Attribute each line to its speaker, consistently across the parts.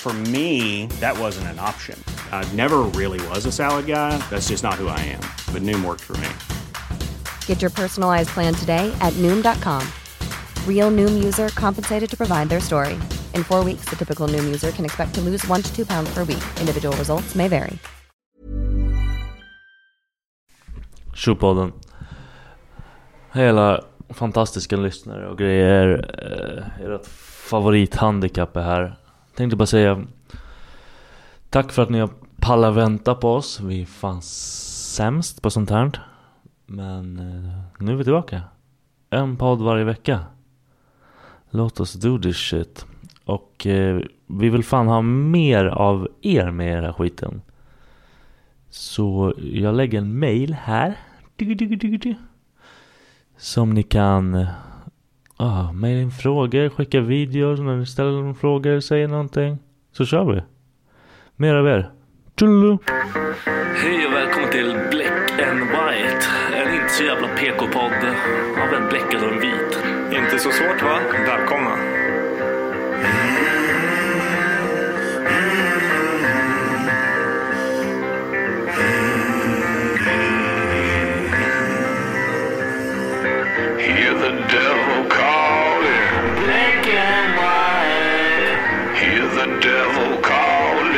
Speaker 1: For me, that wasn't an option. I never really was a salad guy. That's just not who I am. But Noom worked for me.
Speaker 2: Get your personalized plan today at Noom.com. Real Noom user compensated to provide their story. In four weeks, the typical Noom user can expect to lose one to two pounds per week. Individual results may vary.
Speaker 3: Tjopodden Hej alla fantastiska lyssnare och grejer eh, Ert favorithandikapp är här Tänkte bara säga Tack för att ni har pallat vänta på oss Vi är fan sämst på sånt här Men eh, nu är vi tillbaka En podd varje vecka Låt oss do this shit Och eh, vi vill fan ha mer av er med era skiten så jag lägger en mail här. Du, du, du, du. Som ni kan ah, mejla in frågor, skicka videos när ni ställer någon frågor, säger någonting. Så kör vi. Mer av er. Tullu.
Speaker 4: Hej och välkommen till Black and White. En inte så jävla PK-podd av en bläckad och en vit.
Speaker 5: Inte så svårt va? Välkomna.
Speaker 6: Hear the devil calling. Black and white. Hear the devil calling.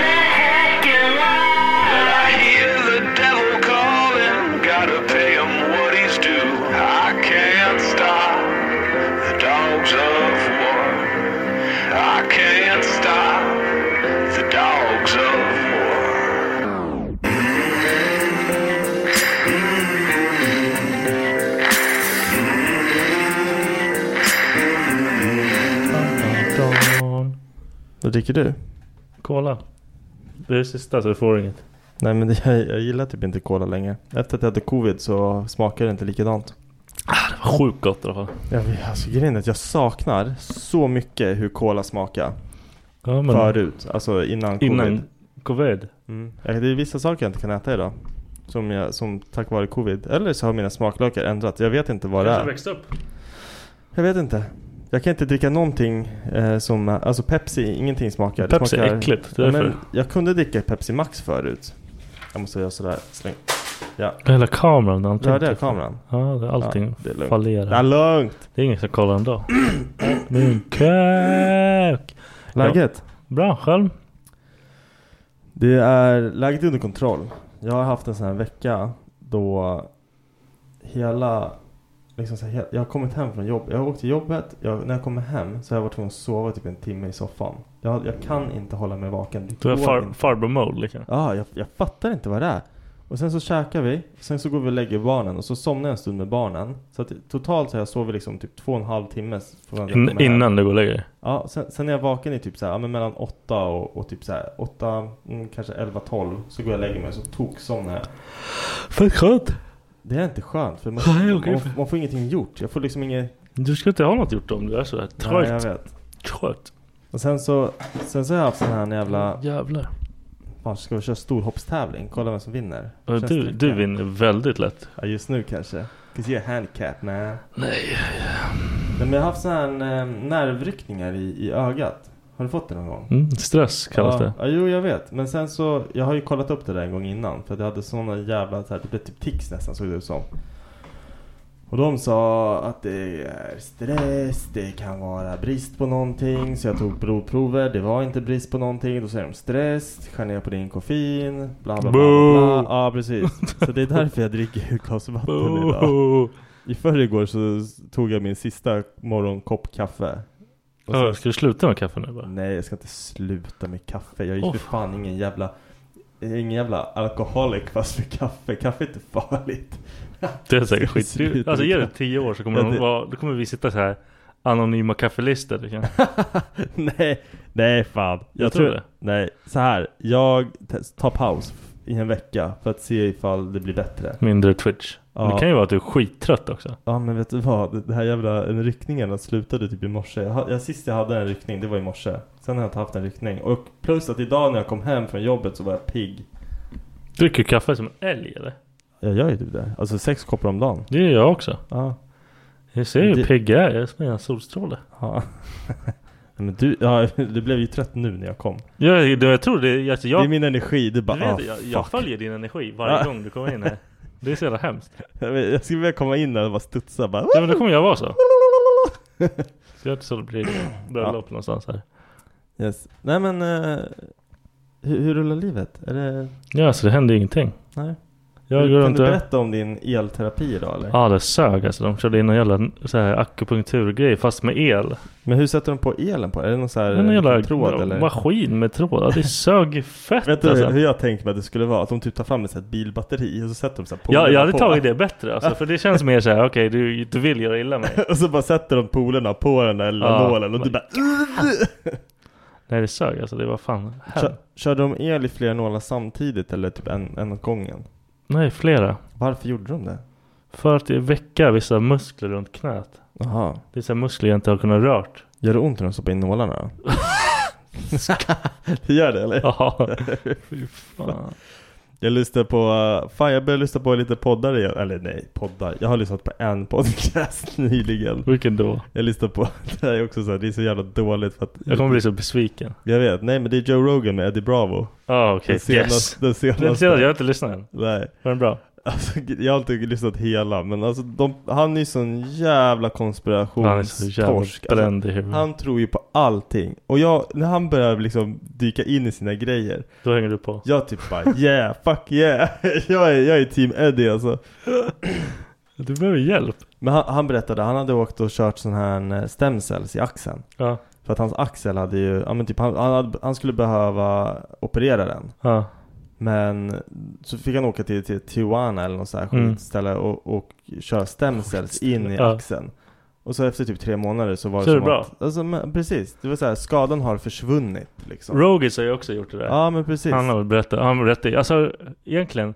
Speaker 6: Black and white. I hear the devil calling. Gotta pay him what he's due. I can't stop the dogs of war. I can't stop the dogs of war.
Speaker 7: Vad dricker du?
Speaker 3: Kolla. Det är det sista så du får inget.
Speaker 7: Nej men det, jag, jag gillar typ inte cola längre. Efter att jag hade covid så smakar det inte likadant.
Speaker 3: Sjukt gott i alla fall.
Speaker 7: Jag, alltså, grejen är att jag saknar så mycket hur cola smakar.
Speaker 3: Ja,
Speaker 7: Förut, alltså innan covid.
Speaker 3: Innan covid.
Speaker 7: Mm. Ja, Det är vissa saker jag inte kan äta idag. Som, jag, som tack vare covid. Eller så har mina smaklökar ändrat. Jag vet inte vad det
Speaker 3: Kanske
Speaker 7: är.
Speaker 3: växt upp.
Speaker 7: Jag vet inte. Jag kan inte dricka någonting eh, som, alltså Pepsi, ingenting smakar. Det
Speaker 3: Pepsi är
Speaker 7: smakar,
Speaker 3: äckligt.
Speaker 7: Ja,
Speaker 3: Därför.
Speaker 7: men jag kunde dricka Pepsi Max förut. Jag måste göra sådär. Släng. Ja,
Speaker 3: Hela kameran. allting.
Speaker 7: rörde jag kameran?
Speaker 3: Ja, det- allting
Speaker 7: Ja, det är lugnt.
Speaker 3: fallerar.
Speaker 7: Det är lugnt!
Speaker 3: Det är ingen som kollar ändå. Min kuk.
Speaker 7: Läget?
Speaker 3: Bra, själv?
Speaker 7: Det är läget är under kontroll. Jag har haft en sån här vecka då hela, liksom så här, jag har kommit hem från jobbet. Jag har åkt till jobbet, jag, när jag kommer hem så har jag varit tvungen att sova typ en timme i soffan. Jag, jag kan inte hålla mig vaken. Det
Speaker 3: Du är
Speaker 7: går
Speaker 3: far,
Speaker 7: inte.
Speaker 3: farbror mode liksom.
Speaker 7: Ja, jag, jag fattar inte vad det är. Och sen så käkar vi, sen så går vi och lägger barnen och så somnar jag en stund med barnen. Så att, totalt så har jag sovit liksom typ två och en halv timme. från att jag
Speaker 3: In,
Speaker 7: kommer hem.
Speaker 3: innan du går och lägger dig.
Speaker 7: Ja, sen, sen är jag vaken i typ så här, ja, men mellan 8 och, och typ så här, 8, mm, kanske 11, 12 så går jag och lägger mig och så toksomnar jag.
Speaker 3: Fett skönt.
Speaker 7: Det är inte skönt för man,
Speaker 3: Nej, okej.
Speaker 7: man, man får ingenting gjort. Jag får liksom inget
Speaker 3: Du ska inte ha något gjort om du är sådär trött.
Speaker 7: Nej, jag vet.
Speaker 3: Trött.
Speaker 7: Och sen så, sen så har jag haft sån här jävla...
Speaker 3: Jävlar.
Speaker 7: Fan, ska vi köra storhoppstävling? Kolla vem som vinner.
Speaker 3: Och
Speaker 7: Känns
Speaker 3: Du,
Speaker 7: det-
Speaker 3: du vinner väldigt lätt.
Speaker 7: Ja, just nu kanske. Cause you're handicap man. Nej.
Speaker 3: Nej,
Speaker 7: men jag har haft sån här eh, nervryckningar i, i ögat. Har du fått det någon gång?
Speaker 3: Mm, stress kallas
Speaker 7: ja,
Speaker 3: det.
Speaker 7: Ja, jo jag vet. Men sen så, jag har ju kollat upp det där en gång innan. För att jag hade såna jävla, så här, det blev typ tics nästan såg det ut som. Och de sa att det är stress, det kan vara brist på någonting. Så jag tog blodprover, det var inte brist på någonting. Då säger de stress, skär ner på din koffein, bla bla bla. bla, bla.
Speaker 3: Boo!
Speaker 7: Ja precis. Så det är därför jag dricker ett glas vatten
Speaker 3: Boo!
Speaker 7: idag. I förrgår så s- tog jag min sista morgonkopp kaffe. Och sen
Speaker 3: Ja, ska du sluta med kaffe nu bara?
Speaker 7: Nej jag ska inte sluta med kaffe. Jag är ju
Speaker 3: Åh,
Speaker 7: för fan ingen jävla jag är Ingen jävla alkoholik fast med kaffe. Kaffe är inte farligt.
Speaker 3: Det är säkert
Speaker 7: Ska
Speaker 3: skit.
Speaker 7: sluta
Speaker 3: Du,
Speaker 7: med
Speaker 3: alltså ge det
Speaker 7: kaffe.
Speaker 3: tio år så kommer,
Speaker 7: Ja,
Speaker 3: de
Speaker 7: det-
Speaker 3: vara, då kommer vi sitta så här Anonyma liksom. kaffelister. det kan-
Speaker 7: Nej, nej fan.
Speaker 3: Jag tror det.
Speaker 7: Nej, så här. Jag te- tar paus i en vecka för att se ifall det blir bättre.
Speaker 3: Mindre Twitch. Men
Speaker 7: Ja.
Speaker 3: Det kan ju vara att du är skittrött också.
Speaker 7: Ja men vet du vad? Det här jävla den ryckningarna slutade typ i morse. Jag, ha- jag, sist jag hade en ryckning, det var i morse. Sen har jag inte haft en ryckning. Och plus att idag när jag kom hem från jobbet så var jag pigg.
Speaker 3: Dricker du kaffe som en älg eller?
Speaker 7: Jag gör ju typ det. Alltså sex koppar om dagen.
Speaker 3: Det gör jag också.
Speaker 7: Ja.
Speaker 3: Jag ser ju
Speaker 7: Det-
Speaker 3: hur pigg jag är. Jag är som en solstråle.
Speaker 7: Ja. Men du, ja, du blev ju trött nu när jag kom.
Speaker 3: Jag, jag tror det. Alltså jag,
Speaker 7: det är min energi, du bara
Speaker 3: du vet,
Speaker 7: ah,
Speaker 3: jag, jag
Speaker 7: fuck.
Speaker 3: följer din energi varje
Speaker 7: Ja.
Speaker 3: gång du kommer in här. Det är så jävla hemskt.
Speaker 7: Jag, vet, jag skulle vilja komma in där och bara studsa bara.
Speaker 3: Ja, men då kommer jag vara så. Så jag tror det blir bröllop någonstans här.
Speaker 7: Yes. Nej men, eh, hur, hur rullar livet? Är det,
Speaker 3: Ja, alltså det händer ju ingenting.
Speaker 7: nej?
Speaker 3: Jag
Speaker 7: Hur-
Speaker 3: går
Speaker 7: kan
Speaker 3: runt
Speaker 7: du
Speaker 3: och-
Speaker 7: berätta om din elterapi idag eller?
Speaker 3: Ja det sög alltså. De körde in någon jävla så här, akupunkturgrej fast med el.
Speaker 7: Men hur sätter de på elen på? Är det någon sån här
Speaker 3: Det är någon jävla
Speaker 7: tråd eller?
Speaker 3: maskin med tråd. Ja, Det sög fett
Speaker 7: Vet du
Speaker 3: alltså.
Speaker 7: hur jag tänkte mig att det skulle vara? Att de typ tar fram ett sånt här bilbatteri och så sätter de så här
Speaker 3: Ja, jag hade
Speaker 7: på.
Speaker 3: tagit det bättre alltså, för det känns mer såhär, okej du, du vill göra illa mig.
Speaker 7: Och så bara sätter de polerna på den där lilla
Speaker 3: Ja.
Speaker 7: nålen och du bara
Speaker 3: Nej det sög alltså, det var fan
Speaker 7: Kör,
Speaker 3: hem.
Speaker 7: Körde de el i flera nålar samtidigt eller typ en, en åt gången?
Speaker 3: Nej flera.
Speaker 7: Varför gjorde de det?
Speaker 3: För att det väcker vissa muskler runt knät.
Speaker 7: Jaha
Speaker 3: Det är så här muskler jag inte har kunnat rört.
Speaker 7: Gör det ont när de stoppar in nålarna? det gör det eller?
Speaker 3: Ja, fy fan.
Speaker 7: Jag lyssnar på, eh, fan jag börjar lyssna på lite poddar igen, eller nej poddar, jag har lyssnat på en podcast nyligen
Speaker 3: Vilken då?
Speaker 7: Jag lyssnar på, det här är också så här, det är så jävla dåligt för att
Speaker 3: Jag kommer bli så besviken.
Speaker 7: Jag vet, nej men det är Joe Rogan med Eddie Bravo
Speaker 3: Ja okej, yes.
Speaker 7: den
Speaker 3: Det är
Speaker 7: senaste,
Speaker 3: jag har inte lyssnat än.
Speaker 7: nej
Speaker 3: Var den bra?
Speaker 7: Alltså, jag har inte lyssnat hela men alltså de, han är ju sån jävla
Speaker 3: Han är så jävla
Speaker 7: konspirationstorsk alltså,
Speaker 3: bränd i huvudet.
Speaker 7: Han tror ju på allting och jag, när han börjar liksom dyka in i sina grejer
Speaker 3: Då hänger du på.
Speaker 7: Jag typ bara yeah, fuck yeah jag, är, jag är team Eddie alltså
Speaker 3: Du behöver hjälp.
Speaker 7: Men han, han berättade, han hade åkt och kört sån här eh, stem cells i axeln
Speaker 3: Ja.
Speaker 7: För att hans axel hade ju, ja men typ han, han, hade, han skulle behöva operera den
Speaker 3: Ja.
Speaker 7: Men så fick han åka till, till Tijuana eller något sånt här
Speaker 3: Mm.
Speaker 7: skitställe och, och köra stem cells in i
Speaker 3: Ja.
Speaker 7: axeln. Och så efter typ tre månader så var det
Speaker 3: Så är det
Speaker 7: som
Speaker 3: bra.
Speaker 7: Att, alltså, men, precis, det var så här, skadan har försvunnit liksom.
Speaker 3: Rogis har ju också gjort det där.
Speaker 7: Ja men precis.
Speaker 3: Han har berättat, han har berättat. Alltså egentligen.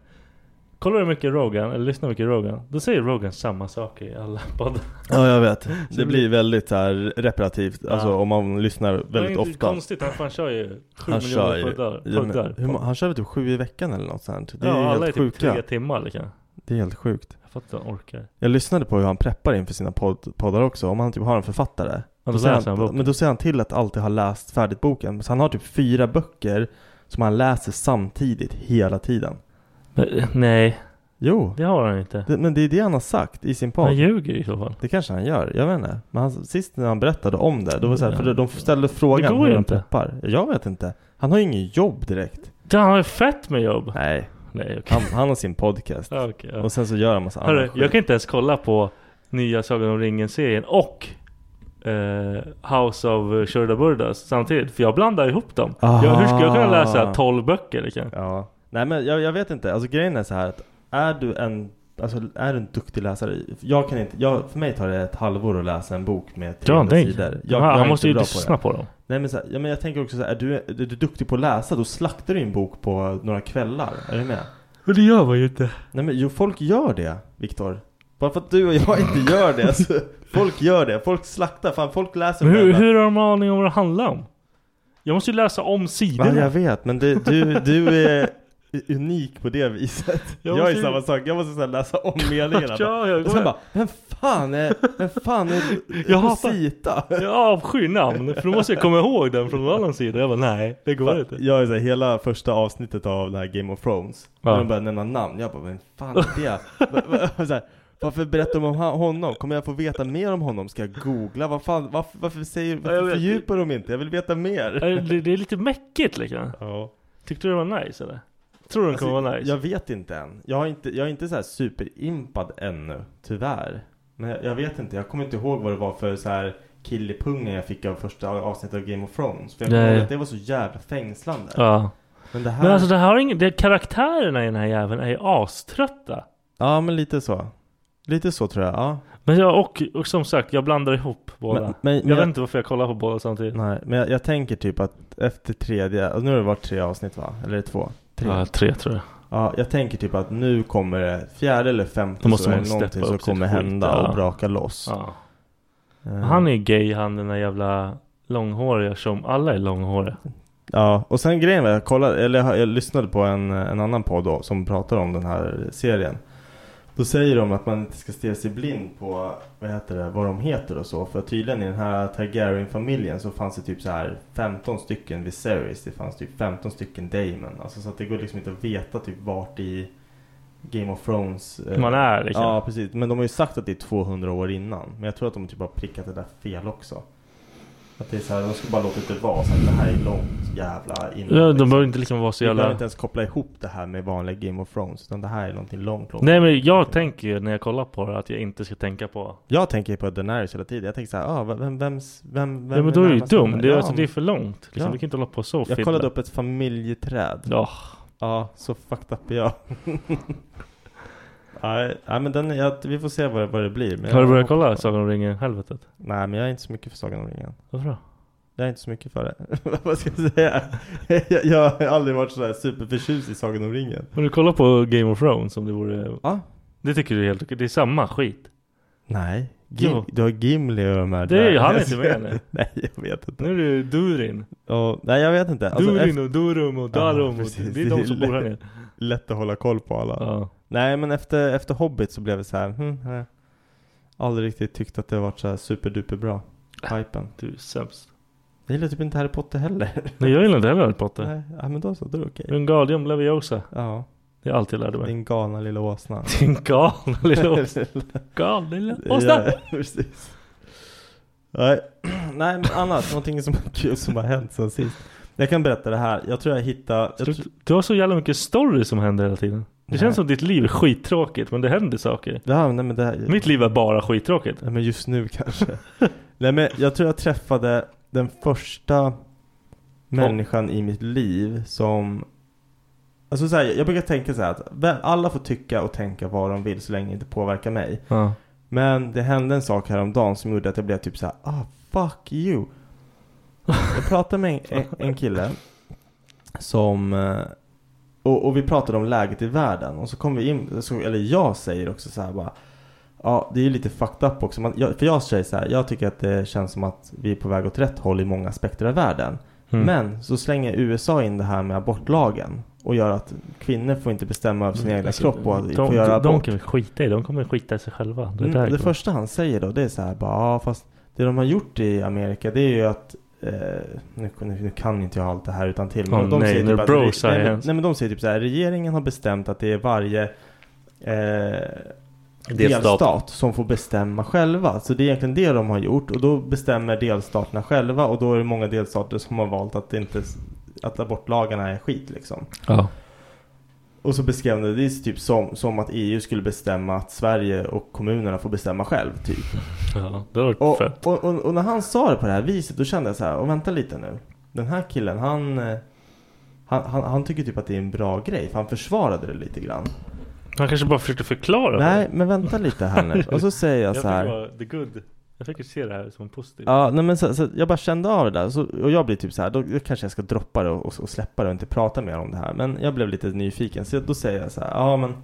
Speaker 3: Kollar du mycket Rogan, eller lyssnar mycket Rogan. Då säger Rogan samma saker i alla poddar.
Speaker 7: Ja jag vet. Det
Speaker 3: det
Speaker 7: blir
Speaker 3: blir
Speaker 7: väldigt så här reparativt, alltså
Speaker 3: Ja.
Speaker 7: om man lyssnar
Speaker 3: Det är
Speaker 7: väldigt
Speaker 3: inte
Speaker 7: ofta.
Speaker 3: konstigt, han fan kör ju 7
Speaker 7: Han kör
Speaker 3: miljoner
Speaker 7: ju,
Speaker 3: poddar.
Speaker 7: ja, men,
Speaker 3: poddar.
Speaker 7: hur, må- han kör väl typ sju i veckan eller något sånt. Det är ju
Speaker 3: ja, alla är
Speaker 7: helt
Speaker 3: typ
Speaker 7: sjuka.
Speaker 3: tre timmar liksom.
Speaker 7: Det är helt sjukt.
Speaker 3: Jag fattar inte orkar.
Speaker 7: Jag lyssnade på hur han preppar inför sina podd, poddar också, om han typ har en författare.
Speaker 3: Ja,
Speaker 7: Då
Speaker 3: då
Speaker 7: säger
Speaker 3: läser han
Speaker 7: han,
Speaker 3: boken.
Speaker 7: men då säger han till att alltid ha läst färdigt boken. Så han har typ fyra böcker som han läser samtidigt hela tiden.
Speaker 3: Men, nej,
Speaker 7: Jo,
Speaker 3: det har han inte.
Speaker 7: det, men det är det han har sagt i sin
Speaker 3: Han
Speaker 7: podd.
Speaker 3: ljuger i så fall.
Speaker 7: Det kanske han gör, jag vet inte. Men han, sist när han berättade om det, då var det så här, för de ställde
Speaker 3: Det
Speaker 7: frågan
Speaker 3: går ju
Speaker 7: hur de
Speaker 3: inte.
Speaker 7: peppar. Jag vet inte. Han har ju ingen jobb direkt.
Speaker 3: Ja, Han har ju fett med jobb.
Speaker 7: Nej,
Speaker 3: Nej okej.
Speaker 7: han, han har sin podcast.
Speaker 3: Ja, okej, ja.
Speaker 7: Och sen så gör han massa
Speaker 3: Hörru,
Speaker 7: annan skit.
Speaker 3: jag kan inte ens kolla på nya Sagan om ringen-serien och eh, House of Shurda Burdas samtidigt. För jag blandar ihop dem. Jag, hur ska jag kunna
Speaker 7: Ah.
Speaker 3: läsa 12 böcker liksom?
Speaker 7: Ja, nej men jag, jag vet inte. Alltså grejen är så här att är du en Alltså är du en duktig läsare? Jag kan inte, jag, för mig tar det ett halvår att läsa en bok med 300 sidor. Jag,
Speaker 3: han,
Speaker 7: jag är
Speaker 3: han
Speaker 7: inte
Speaker 3: måste ju
Speaker 7: bra
Speaker 3: lyssna
Speaker 7: det.
Speaker 3: på, dem.
Speaker 7: Nej men, så här, ja, men jag tänker också så här, är du, är du duktig på att läsa då slaktar du en bok på några kvällar. Är du med?
Speaker 3: Men det gör man ju inte.
Speaker 7: Nej men jo, folk gör det, Viktor. Bara för att du och jag inte gör det så Folk gör det, folk slaktar, fan folk läser
Speaker 3: Men hur,
Speaker 7: varandra.
Speaker 3: hur har de aning om vad det handlar om? Jag måste ju läsa om
Speaker 7: Ja, jag
Speaker 3: sidorna.
Speaker 7: vet, men du, du, du är unik på det viset.
Speaker 3: Jag
Speaker 7: Jag,
Speaker 3: måste
Speaker 7: är
Speaker 3: ju-
Speaker 7: samma sak, jag måste så här läsa om meningarna.
Speaker 3: Ja, jag
Speaker 7: och sen
Speaker 3: går-
Speaker 7: bara, vem fan är, vem fan är
Speaker 3: Jag hatar-
Speaker 7: Rosita?
Speaker 3: Jag avskyr namn, för då måste jag komma ihåg den från någon annan sida. Jag bara nej, det går inte.
Speaker 7: Jag är så här, hela första avsnittet av det här Game of Thrones,
Speaker 3: Ja.
Speaker 7: när de börjar nämna namn, jag bara, vem fan är det? Va- va- så här, varför berättar de om han- honom? Kommer jag få veta mer om honom? Ska jag googla? Vad fan, varför, varför, säger,
Speaker 3: Ja, jag
Speaker 7: varför
Speaker 3: vet.
Speaker 7: fördjupar de inte? Jag vill veta mer!
Speaker 3: Är Äh, Det, det är lite mäckigt liksom.
Speaker 7: Ja.
Speaker 3: Tyckte du det var nice eller? Tror du den kommer vara nice?
Speaker 7: Alltså, Jag vet inte än. Jag, har inte, jag är inte så här superimpad ännu, tyvärr. Men jag, jag vet inte, jag kommer inte ihåg vad det var för så här killepunga jag fick av första avsnittet av Game of Thrones. För jag kommer
Speaker 3: Nej.
Speaker 7: ihåg att det var så jävla fängslande.
Speaker 3: Ja.
Speaker 7: Men det här...
Speaker 3: Men alltså det här har ingen, det, karaktärerna i den här jäveln är ju aströtta.
Speaker 7: Ja, men lite så. Lite så tror jag, ja.
Speaker 3: Men jag, och, och som sagt, jag blandar ihop båda.
Speaker 7: Men- men-
Speaker 3: jag
Speaker 7: men-
Speaker 3: vet inte varför jag kollar på båda samtidigt.
Speaker 7: Nej, men jag, jag tänker typ att efter tredje, alltså nu har det varit tre avsnitt va? Eller är det två? Tre?
Speaker 3: Ja,
Speaker 7: Ja.
Speaker 3: tre tror jag.
Speaker 7: jag tänker typ att nu kommer det, fjärde eller
Speaker 3: Då
Speaker 7: femte
Speaker 3: måste
Speaker 7: så är
Speaker 3: man
Speaker 7: det
Speaker 3: steppa
Speaker 7: någonting
Speaker 3: upp
Speaker 7: som
Speaker 3: sitt
Speaker 7: kommer
Speaker 3: skit,
Speaker 7: hända
Speaker 3: ja.
Speaker 7: och braka loss.
Speaker 3: Ja.
Speaker 7: Eh,
Speaker 3: Han är ju gay han den där jävla långhåriga som alla är långhåriga.
Speaker 7: Ja, och sen grejen var jag kollade, eller jag, jag lyssnade på en, en annan podd då, som pratade om den här serien. Då säger de att man inte ska stirra sig blind på vad heter det, vad de heter och så. För tydligen i den här Targaryen-familjen så fanns det typ så här 15 stycken Viserys, det fanns typ 15 stycken Daemon. Alltså så att det går liksom inte att veta typ vart i Game of Thrones eh,
Speaker 3: Man är liksom.
Speaker 7: Ja precis, men de har ju sagt att det är 200 år innan. Men jag tror att de typ har prickat det där fel också. Att det är så här, de ska bara låta det vara så att det här är långt jävla innan.
Speaker 3: Ja, de
Speaker 7: liksom.
Speaker 3: behöver inte liksom vara så
Speaker 7: Vi behöver
Speaker 3: jävla...
Speaker 7: inte ens koppla ihop det här med vanliga Game of Thrones. Utan det här är någonting långt, långt.
Speaker 3: Nej men jag tänker ju när jag kollar på det att jag inte ska tänka på...
Speaker 7: Jag tänker ju på Daenerys hela tiden. Jag tänker så här, ah, vem, vems, vem, vem
Speaker 3: ja men då är det ju
Speaker 7: närmast den
Speaker 3: dum.
Speaker 7: där?
Speaker 3: Det är,
Speaker 7: Ja,
Speaker 3: alltså, det är
Speaker 7: men-
Speaker 3: för långt. Liksom.
Speaker 7: Ja.
Speaker 3: Du kan inte hålla på så
Speaker 7: Jag kollade upp ett familjeträd. Ja,
Speaker 3: Ja.
Speaker 7: så fucked up är jag. Nej, nej, men den, är- jag, vi får se vad det, vad det blir. Men
Speaker 3: Har du
Speaker 7: jag
Speaker 3: börjat
Speaker 7: hoppas på
Speaker 3: kolla
Speaker 7: det.
Speaker 3: Sagan om ringen-helvetet?
Speaker 7: Nej, men jag är inte så mycket för Sagan om ringen.
Speaker 3: Varför då?
Speaker 7: Jag är inte så mycket för det. Vad ska jag säga? jag, jag har aldrig varit sådär superförtjust i Sagan om ringen.
Speaker 3: Men du kollar på Game of Thrones om det vore...
Speaker 7: Ja.
Speaker 3: Det tycker du är helt okej. Det är samma skit.
Speaker 7: Nej.
Speaker 3: Jo.
Speaker 7: Gim, du har Gimli och de här
Speaker 3: Det är ju
Speaker 7: där-
Speaker 3: han inte med nu.
Speaker 7: Nej, jag vet inte.
Speaker 3: Nu är det Durin.
Speaker 7: Och, nej, jag vet inte. Alltså,
Speaker 3: Durin
Speaker 7: efter,
Speaker 3: och Durum och Darum. och
Speaker 7: precis.
Speaker 3: det är de som bor här nere.
Speaker 7: lätt att hålla koll på alla.
Speaker 3: Ja.
Speaker 7: Nej, men efter, efter Hobbit så blev det så här. Hmm, nej. Aldrig riktigt tyckt att det har varit så här superduper bra.
Speaker 3: Äh.
Speaker 7: Hypen.
Speaker 3: Du är sämst.
Speaker 7: Jag gillar typ inte Harry Potter heller.
Speaker 3: Nej jag gillar inte heller Harry Potter.
Speaker 7: nej, ja, men då så. Då är det okej.
Speaker 3: Wingardium Leviosa.
Speaker 7: Ja,
Speaker 3: Det är allt jag lärde mig.
Speaker 7: din galna lilla åsna.
Speaker 3: Din galna lilla åsna. Galna lilla åsna.
Speaker 7: Ja, precis. Nej. Nej, men annars någonting som är kul som har hänt sen sist. Jag kan berätta det här. Jag tror jag hittade... Jag
Speaker 3: Du,
Speaker 7: tr-
Speaker 3: du har så jävla mycket story som händer hela tiden. Det
Speaker 7: Nej.
Speaker 3: känns som ditt liv är skittråkigt men det händer saker.
Speaker 7: det här, nej, men det här,
Speaker 3: Mitt liv är bara skittråkigt.
Speaker 7: nej, men just nu kanske. nej, men jag tror jag träffade den första människan i mitt liv som... Alltså så här, jag brukar tänka så här att vä- alla får tycka och tänka vad de vill så länge det inte påverkar mig.
Speaker 3: Ja.
Speaker 7: Men det hände en sak häromdagen som gjorde att jag blev typ så här, ah fuck you. Jag pratade med en, en- en kille som, eh, och, och vi pratade om läget i världen och så kom vi in, så, eller jag säger också så här bara, ja det är ju lite fucked up också. Man, jag, för jag säger så här, jag tycker att det känns som att vi är på väg åt rätt håll i många aspekter av världen.
Speaker 3: Mm.
Speaker 7: Men så slänger USA in det här med abortlagen och gör att kvinnor får inte bestämma över sin egna
Speaker 3: Alltså,
Speaker 7: kropp och
Speaker 3: de,
Speaker 7: får göra
Speaker 3: de,
Speaker 7: abort.
Speaker 3: de kan vi skita i. De kommer skita i sig själva. Det,
Speaker 7: Mm,
Speaker 3: där
Speaker 7: det
Speaker 3: kommer-
Speaker 7: första han säger då det är så här bara, ja fast det de har gjort i Amerika det är ju att eh, nu, nu, nu kan inte jag allt det här utan till
Speaker 3: Åh, nej, nu är det
Speaker 7: typ att
Speaker 3: bro
Speaker 7: re- nej, men,
Speaker 3: science.
Speaker 7: nej men de säger typ så här regeringen har bestämt att det är varje eh,
Speaker 3: Delstat.
Speaker 7: delstat som får bestämma själva. Så det är egentligen det de har gjort och då bestämmer delstaterna själva och då är det många delstater som har valt att inte att abortlagarna är skit liksom.
Speaker 3: Ja.
Speaker 7: Och så beskrev han det, det är typ som, som att EU skulle bestämma att Sverige och kommunerna får bestämma själv typ.
Speaker 3: ja, det har varit
Speaker 7: Och,
Speaker 3: fett.
Speaker 7: och, och, och när han sa det på det här viset då kände jag så här, och vänta lite nu. Den här killen han, eh, han, han, han tycker typ att det är en bra grej för han försvarade det lite grann.
Speaker 3: Han kanske bara försökte förklara.
Speaker 7: Nej men vänta lite här nu. Och så säger
Speaker 3: jag
Speaker 7: jag
Speaker 3: fick
Speaker 7: så här.
Speaker 3: vara the good. Jag fick se det här som positivt.
Speaker 7: Ja, nej men så, så jag bara kände av det där så, och jag blir typ så här, då, då kanske jag ska droppa det och, och släppa det och inte prata mer om det här. Men jag blev lite nyfiken så då säger jag så här, ja men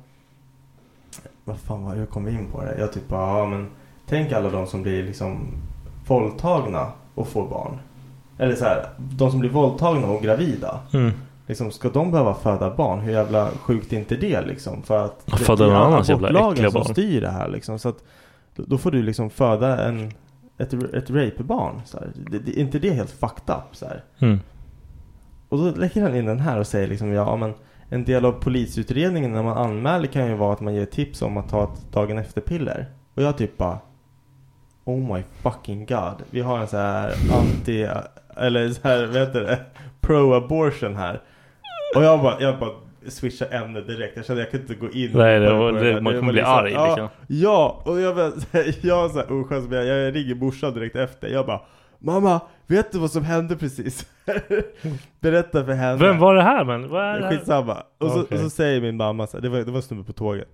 Speaker 7: vad fan vad, hur kom vi in på det? Jag typ bara, ja men Tänk alla de som blir liksom våldtagna och får barn. Eller så här, de som blir våldtagna och gravida.
Speaker 3: Mm.
Speaker 7: Liksom, ska de behöva föda barn? Hur jävla sjukt är inte det liksom? För att
Speaker 3: Och föda
Speaker 7: det är
Speaker 3: någon annans jävla
Speaker 7: abortlagen
Speaker 3: äckliga
Speaker 7: som
Speaker 3: barn.
Speaker 7: styr det här liksom. Så att då- då får du liksom föda en, ett, ett rape-barn. Så här. Det, det, är inte det helt fucked up? Så här?
Speaker 3: Mm.
Speaker 7: Och då lägger han in den här och säger liksom ja men en del av polisutredningen när man anmäler kan ju vara att man ger tips om att ta ett dagen efter-piller. Och jag typ bara Oh my fucking god. Vi har en så här anti eller så här vad heter det? Pro abortion här. Och jag bara, jag bara switchar ämne direkt. Jag kände att jag kunde inte gå in
Speaker 3: Nej, det
Speaker 7: på
Speaker 3: var-
Speaker 7: på
Speaker 3: det-
Speaker 7: här.
Speaker 3: man kommer
Speaker 7: var
Speaker 3: bli arg,
Speaker 7: ja,
Speaker 3: liksom.
Speaker 7: Ja, och jag bara, jag så här oskön som jag är, jag ringer morsan direkt efter. Jag bara Mamma, vet du vad som hände precis? Berätta för henne.
Speaker 3: Vem var det här men? Vad är det här?
Speaker 7: Skitsamma. Och så,
Speaker 3: Okej.
Speaker 7: och så säger min mamma så här, det var, det var en snubbe på tåget.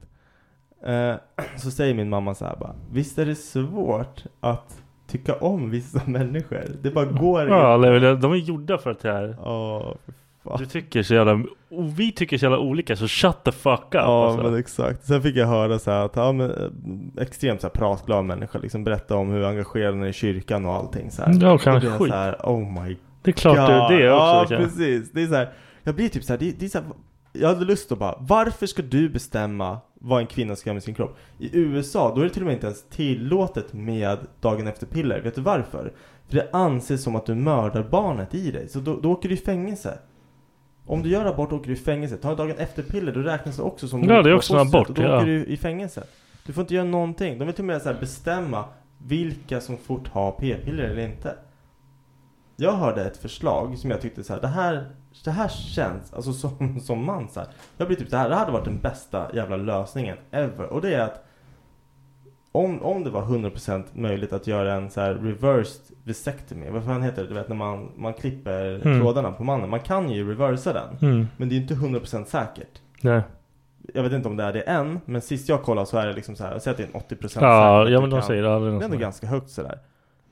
Speaker 7: Eh, så säger min mamma så här bara, visst är det svårt att tycka om vissa människor? Det bara går
Speaker 3: Ja,
Speaker 7: inte.
Speaker 3: nej, men de- de är gjorda för att det här.
Speaker 7: Ja, fy fan.
Speaker 3: Du tycker så jävla... Och vi tycker så jävla olika så shut the fuck up
Speaker 7: Ja
Speaker 3: alltså.
Speaker 7: men exakt. Sen fick jag höra så här att, ja men eh, extremt så här pratglad människa liksom berätta om hur engagerad den är i kyrkan och allting så här.
Speaker 3: Ja,
Speaker 7: Då
Speaker 3: kanske
Speaker 7: blir jag
Speaker 3: skit.
Speaker 7: så här, oh my
Speaker 3: Det är klart
Speaker 7: God.
Speaker 3: det är det också.
Speaker 7: Ja
Speaker 3: kan jag-
Speaker 7: precis. Det är så här, jag blir typ så här, det, det är så här, jag hade lust att bara, varför ska du bestämma vad en kvinna ska göra med sin kropp? I USA, då är det till och med inte ens tillåtet med dagen efter-piller. Vet du varför? För det anses som att du mördar barnet i dig, så då, då åker du i fängelse. Om du gör abort åker du i fängelse. Tar du dagen efter-piller, då räknas det också som
Speaker 3: Ja, det är
Speaker 7: mord på
Speaker 3: också en
Speaker 7: fostret,
Speaker 3: abort,
Speaker 7: och Då
Speaker 3: ja.
Speaker 7: åker du i fängelse. Du får inte göra någonting. De vill till och med så här bestämma vilka som får ta p-piller eller inte. Jag hörde ett förslag som jag tyckte så här, det här, det här känns, alltså som, som man så här. Jag blir typ så här, det här hade varit den bästa jävla lösningen ever. Och det är att om, om det var 100% möjligt att göra en så här reversed vasectomy, vad fan heter det? Du vet när man, man klipper
Speaker 3: Mm.
Speaker 7: trådarna på mannen. Man kan ju reversa den.
Speaker 3: Mm.
Speaker 7: Men det är ju inte 100% säkert.
Speaker 3: Nej.
Speaker 7: Jag vet inte om det är det än, men sist jag kollade så är det liksom så här, säg att det är en 80% säkerhet.
Speaker 3: Ja, ja
Speaker 7: du
Speaker 3: men de
Speaker 7: kan.
Speaker 3: säger aldrig
Speaker 7: Det är
Speaker 3: något
Speaker 7: ändå
Speaker 3: sånt.
Speaker 7: ganska högt sådär.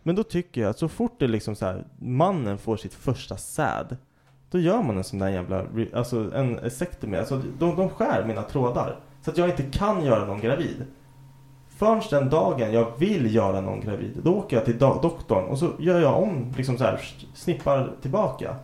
Speaker 7: Men då tycker jag att så fort det liksom så här, mannen får sitt första säd. Då gör man en sån där jävla, re- alltså en esektomi. Alltså de, de skär mina trådar. Så att jag inte kan göra någon gravid. Förrän den dagen jag vill göra någon gravid. Då åker jag till do- doktorn och så gör jag om, liksom så här, snippar tillbaka.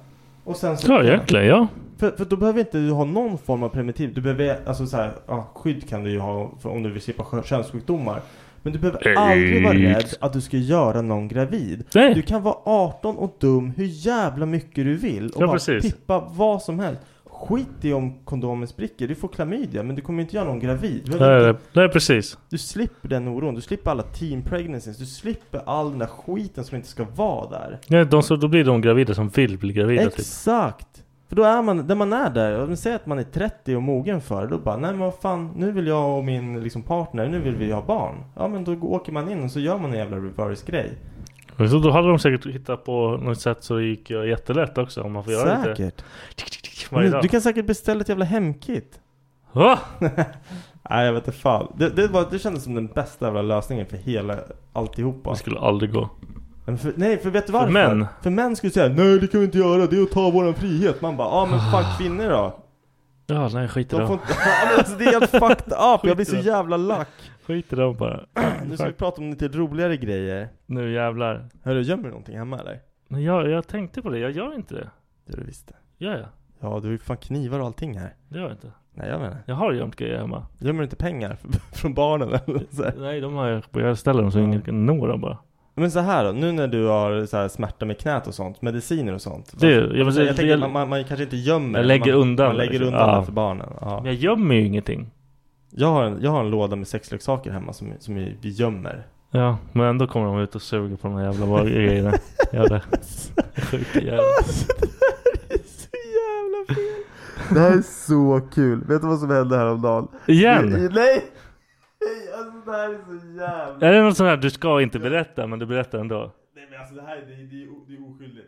Speaker 7: Och sen så...
Speaker 3: Ja egentligen ja.
Speaker 7: För, för då behöver inte du ha någon form av primitiv. Du behöver, alltså så här, ja, skydd kan du ju ha för om du vill slippa skö- könssjukdomar. Men du behöver aldrig vara rädd att du ska göra någon gravid.
Speaker 3: Nej.
Speaker 7: Du kan vara 18 och dum hur jävla mycket du vill och
Speaker 3: Ja,
Speaker 7: bara
Speaker 3: precis.
Speaker 7: pippa vad som helst. Skit i om kondomen spricker, du får klamydia men du kommer ju inte göra någon gravid. Du, behöver
Speaker 3: Nej,
Speaker 7: inte,
Speaker 3: nej precis.
Speaker 7: du slipper den oron, du slipper alla teen pregnancies, du slipper all den där skiten som inte ska vara där.
Speaker 3: Nej, de, så, då blir de gravida som vill bli gravida typ.
Speaker 7: Exakt! För då är man, där man är där, och säg att man är 30 och mogen för det, då bara nej men vad fan, nu vill jag och min liksom, partner, nu vill vi ha barn. Ja men då åker man in och så gör man en jävla reverse grej.
Speaker 3: Men Så då hade de säkert hittat på något sätt så det gick ju jättelätt också om man får göra lite
Speaker 7: Säkert!
Speaker 3: varje
Speaker 7: Men
Speaker 3: dag. Ah!
Speaker 7: Du kan säkert beställa ett jävla hemkit.
Speaker 3: Va?
Speaker 7: Nej jag vet inte fan. Det, det, var, det kändes som den bästa jävla lösningen för hela alltihopa.
Speaker 3: Det skulle aldrig gå.
Speaker 7: Men För, nej för vet du varför?
Speaker 3: män.
Speaker 7: För män skulle säga nej det kan vi inte göra, det är att ta våran frihet. Man bara ja men
Speaker 3: Ah.
Speaker 7: fuck kvinnor då.
Speaker 3: Ja, nej skit i
Speaker 7: De får
Speaker 3: dem.
Speaker 7: inte, ja, men alltså, det är helt fucked up, jag blir så
Speaker 3: Skit i det.
Speaker 7: jävla lack.
Speaker 3: Skit i dem bara.
Speaker 7: Nu ska vi prata om lite roligare grejer.
Speaker 3: Nu jävlar.
Speaker 7: Hörru, gömmer du någonting hemma eller?
Speaker 3: Men jag, jag tänkte på det, jag gör inte det.
Speaker 7: Det du visste.
Speaker 3: Gör jag?
Speaker 7: Ja, du har ju fan knivar och allting här.
Speaker 3: Det gör jag inte.
Speaker 7: Nej, jag menar.
Speaker 3: Jag har gömt grejer hemma.
Speaker 7: Gömmer du inte pengar från barnen eller så här?
Speaker 3: Nej, de har jag Jag ställer dem så ingen kan nå dem bara.
Speaker 7: Men så här då, nu när du har så här smärta med knät och sånt, mediciner och sånt.
Speaker 3: Det-
Speaker 7: varför-
Speaker 3: jag vill säga-
Speaker 7: jag tänker att
Speaker 3: det-
Speaker 7: man, man, man kanske inte gömmer.
Speaker 3: Jag lägger
Speaker 7: man,
Speaker 3: undan
Speaker 7: Man lägger
Speaker 3: liksom.
Speaker 7: undan
Speaker 3: Ja.
Speaker 7: det för barnen. Ja.
Speaker 3: Men jag gömmer ju ingenting.
Speaker 7: Jag, har en, jag har en låda med sexleksaker hemma som, som vi vi gömmer.
Speaker 3: Ja, men ändå kommer de ut och suger på de här jävla var- grejerna. Jävla sjuka jävlar.
Speaker 7: det är så jävla fel. Det här är så kul. Vet du vad som hände häromdagen?
Speaker 3: Igen!
Speaker 7: Nej! Nej, Alltså det här är så jävla...
Speaker 3: Är det något sånt här du ska inte berätta, men du berättar ändå?
Speaker 7: Nej men alltså det här det, det, är, o- det är oskyldigt.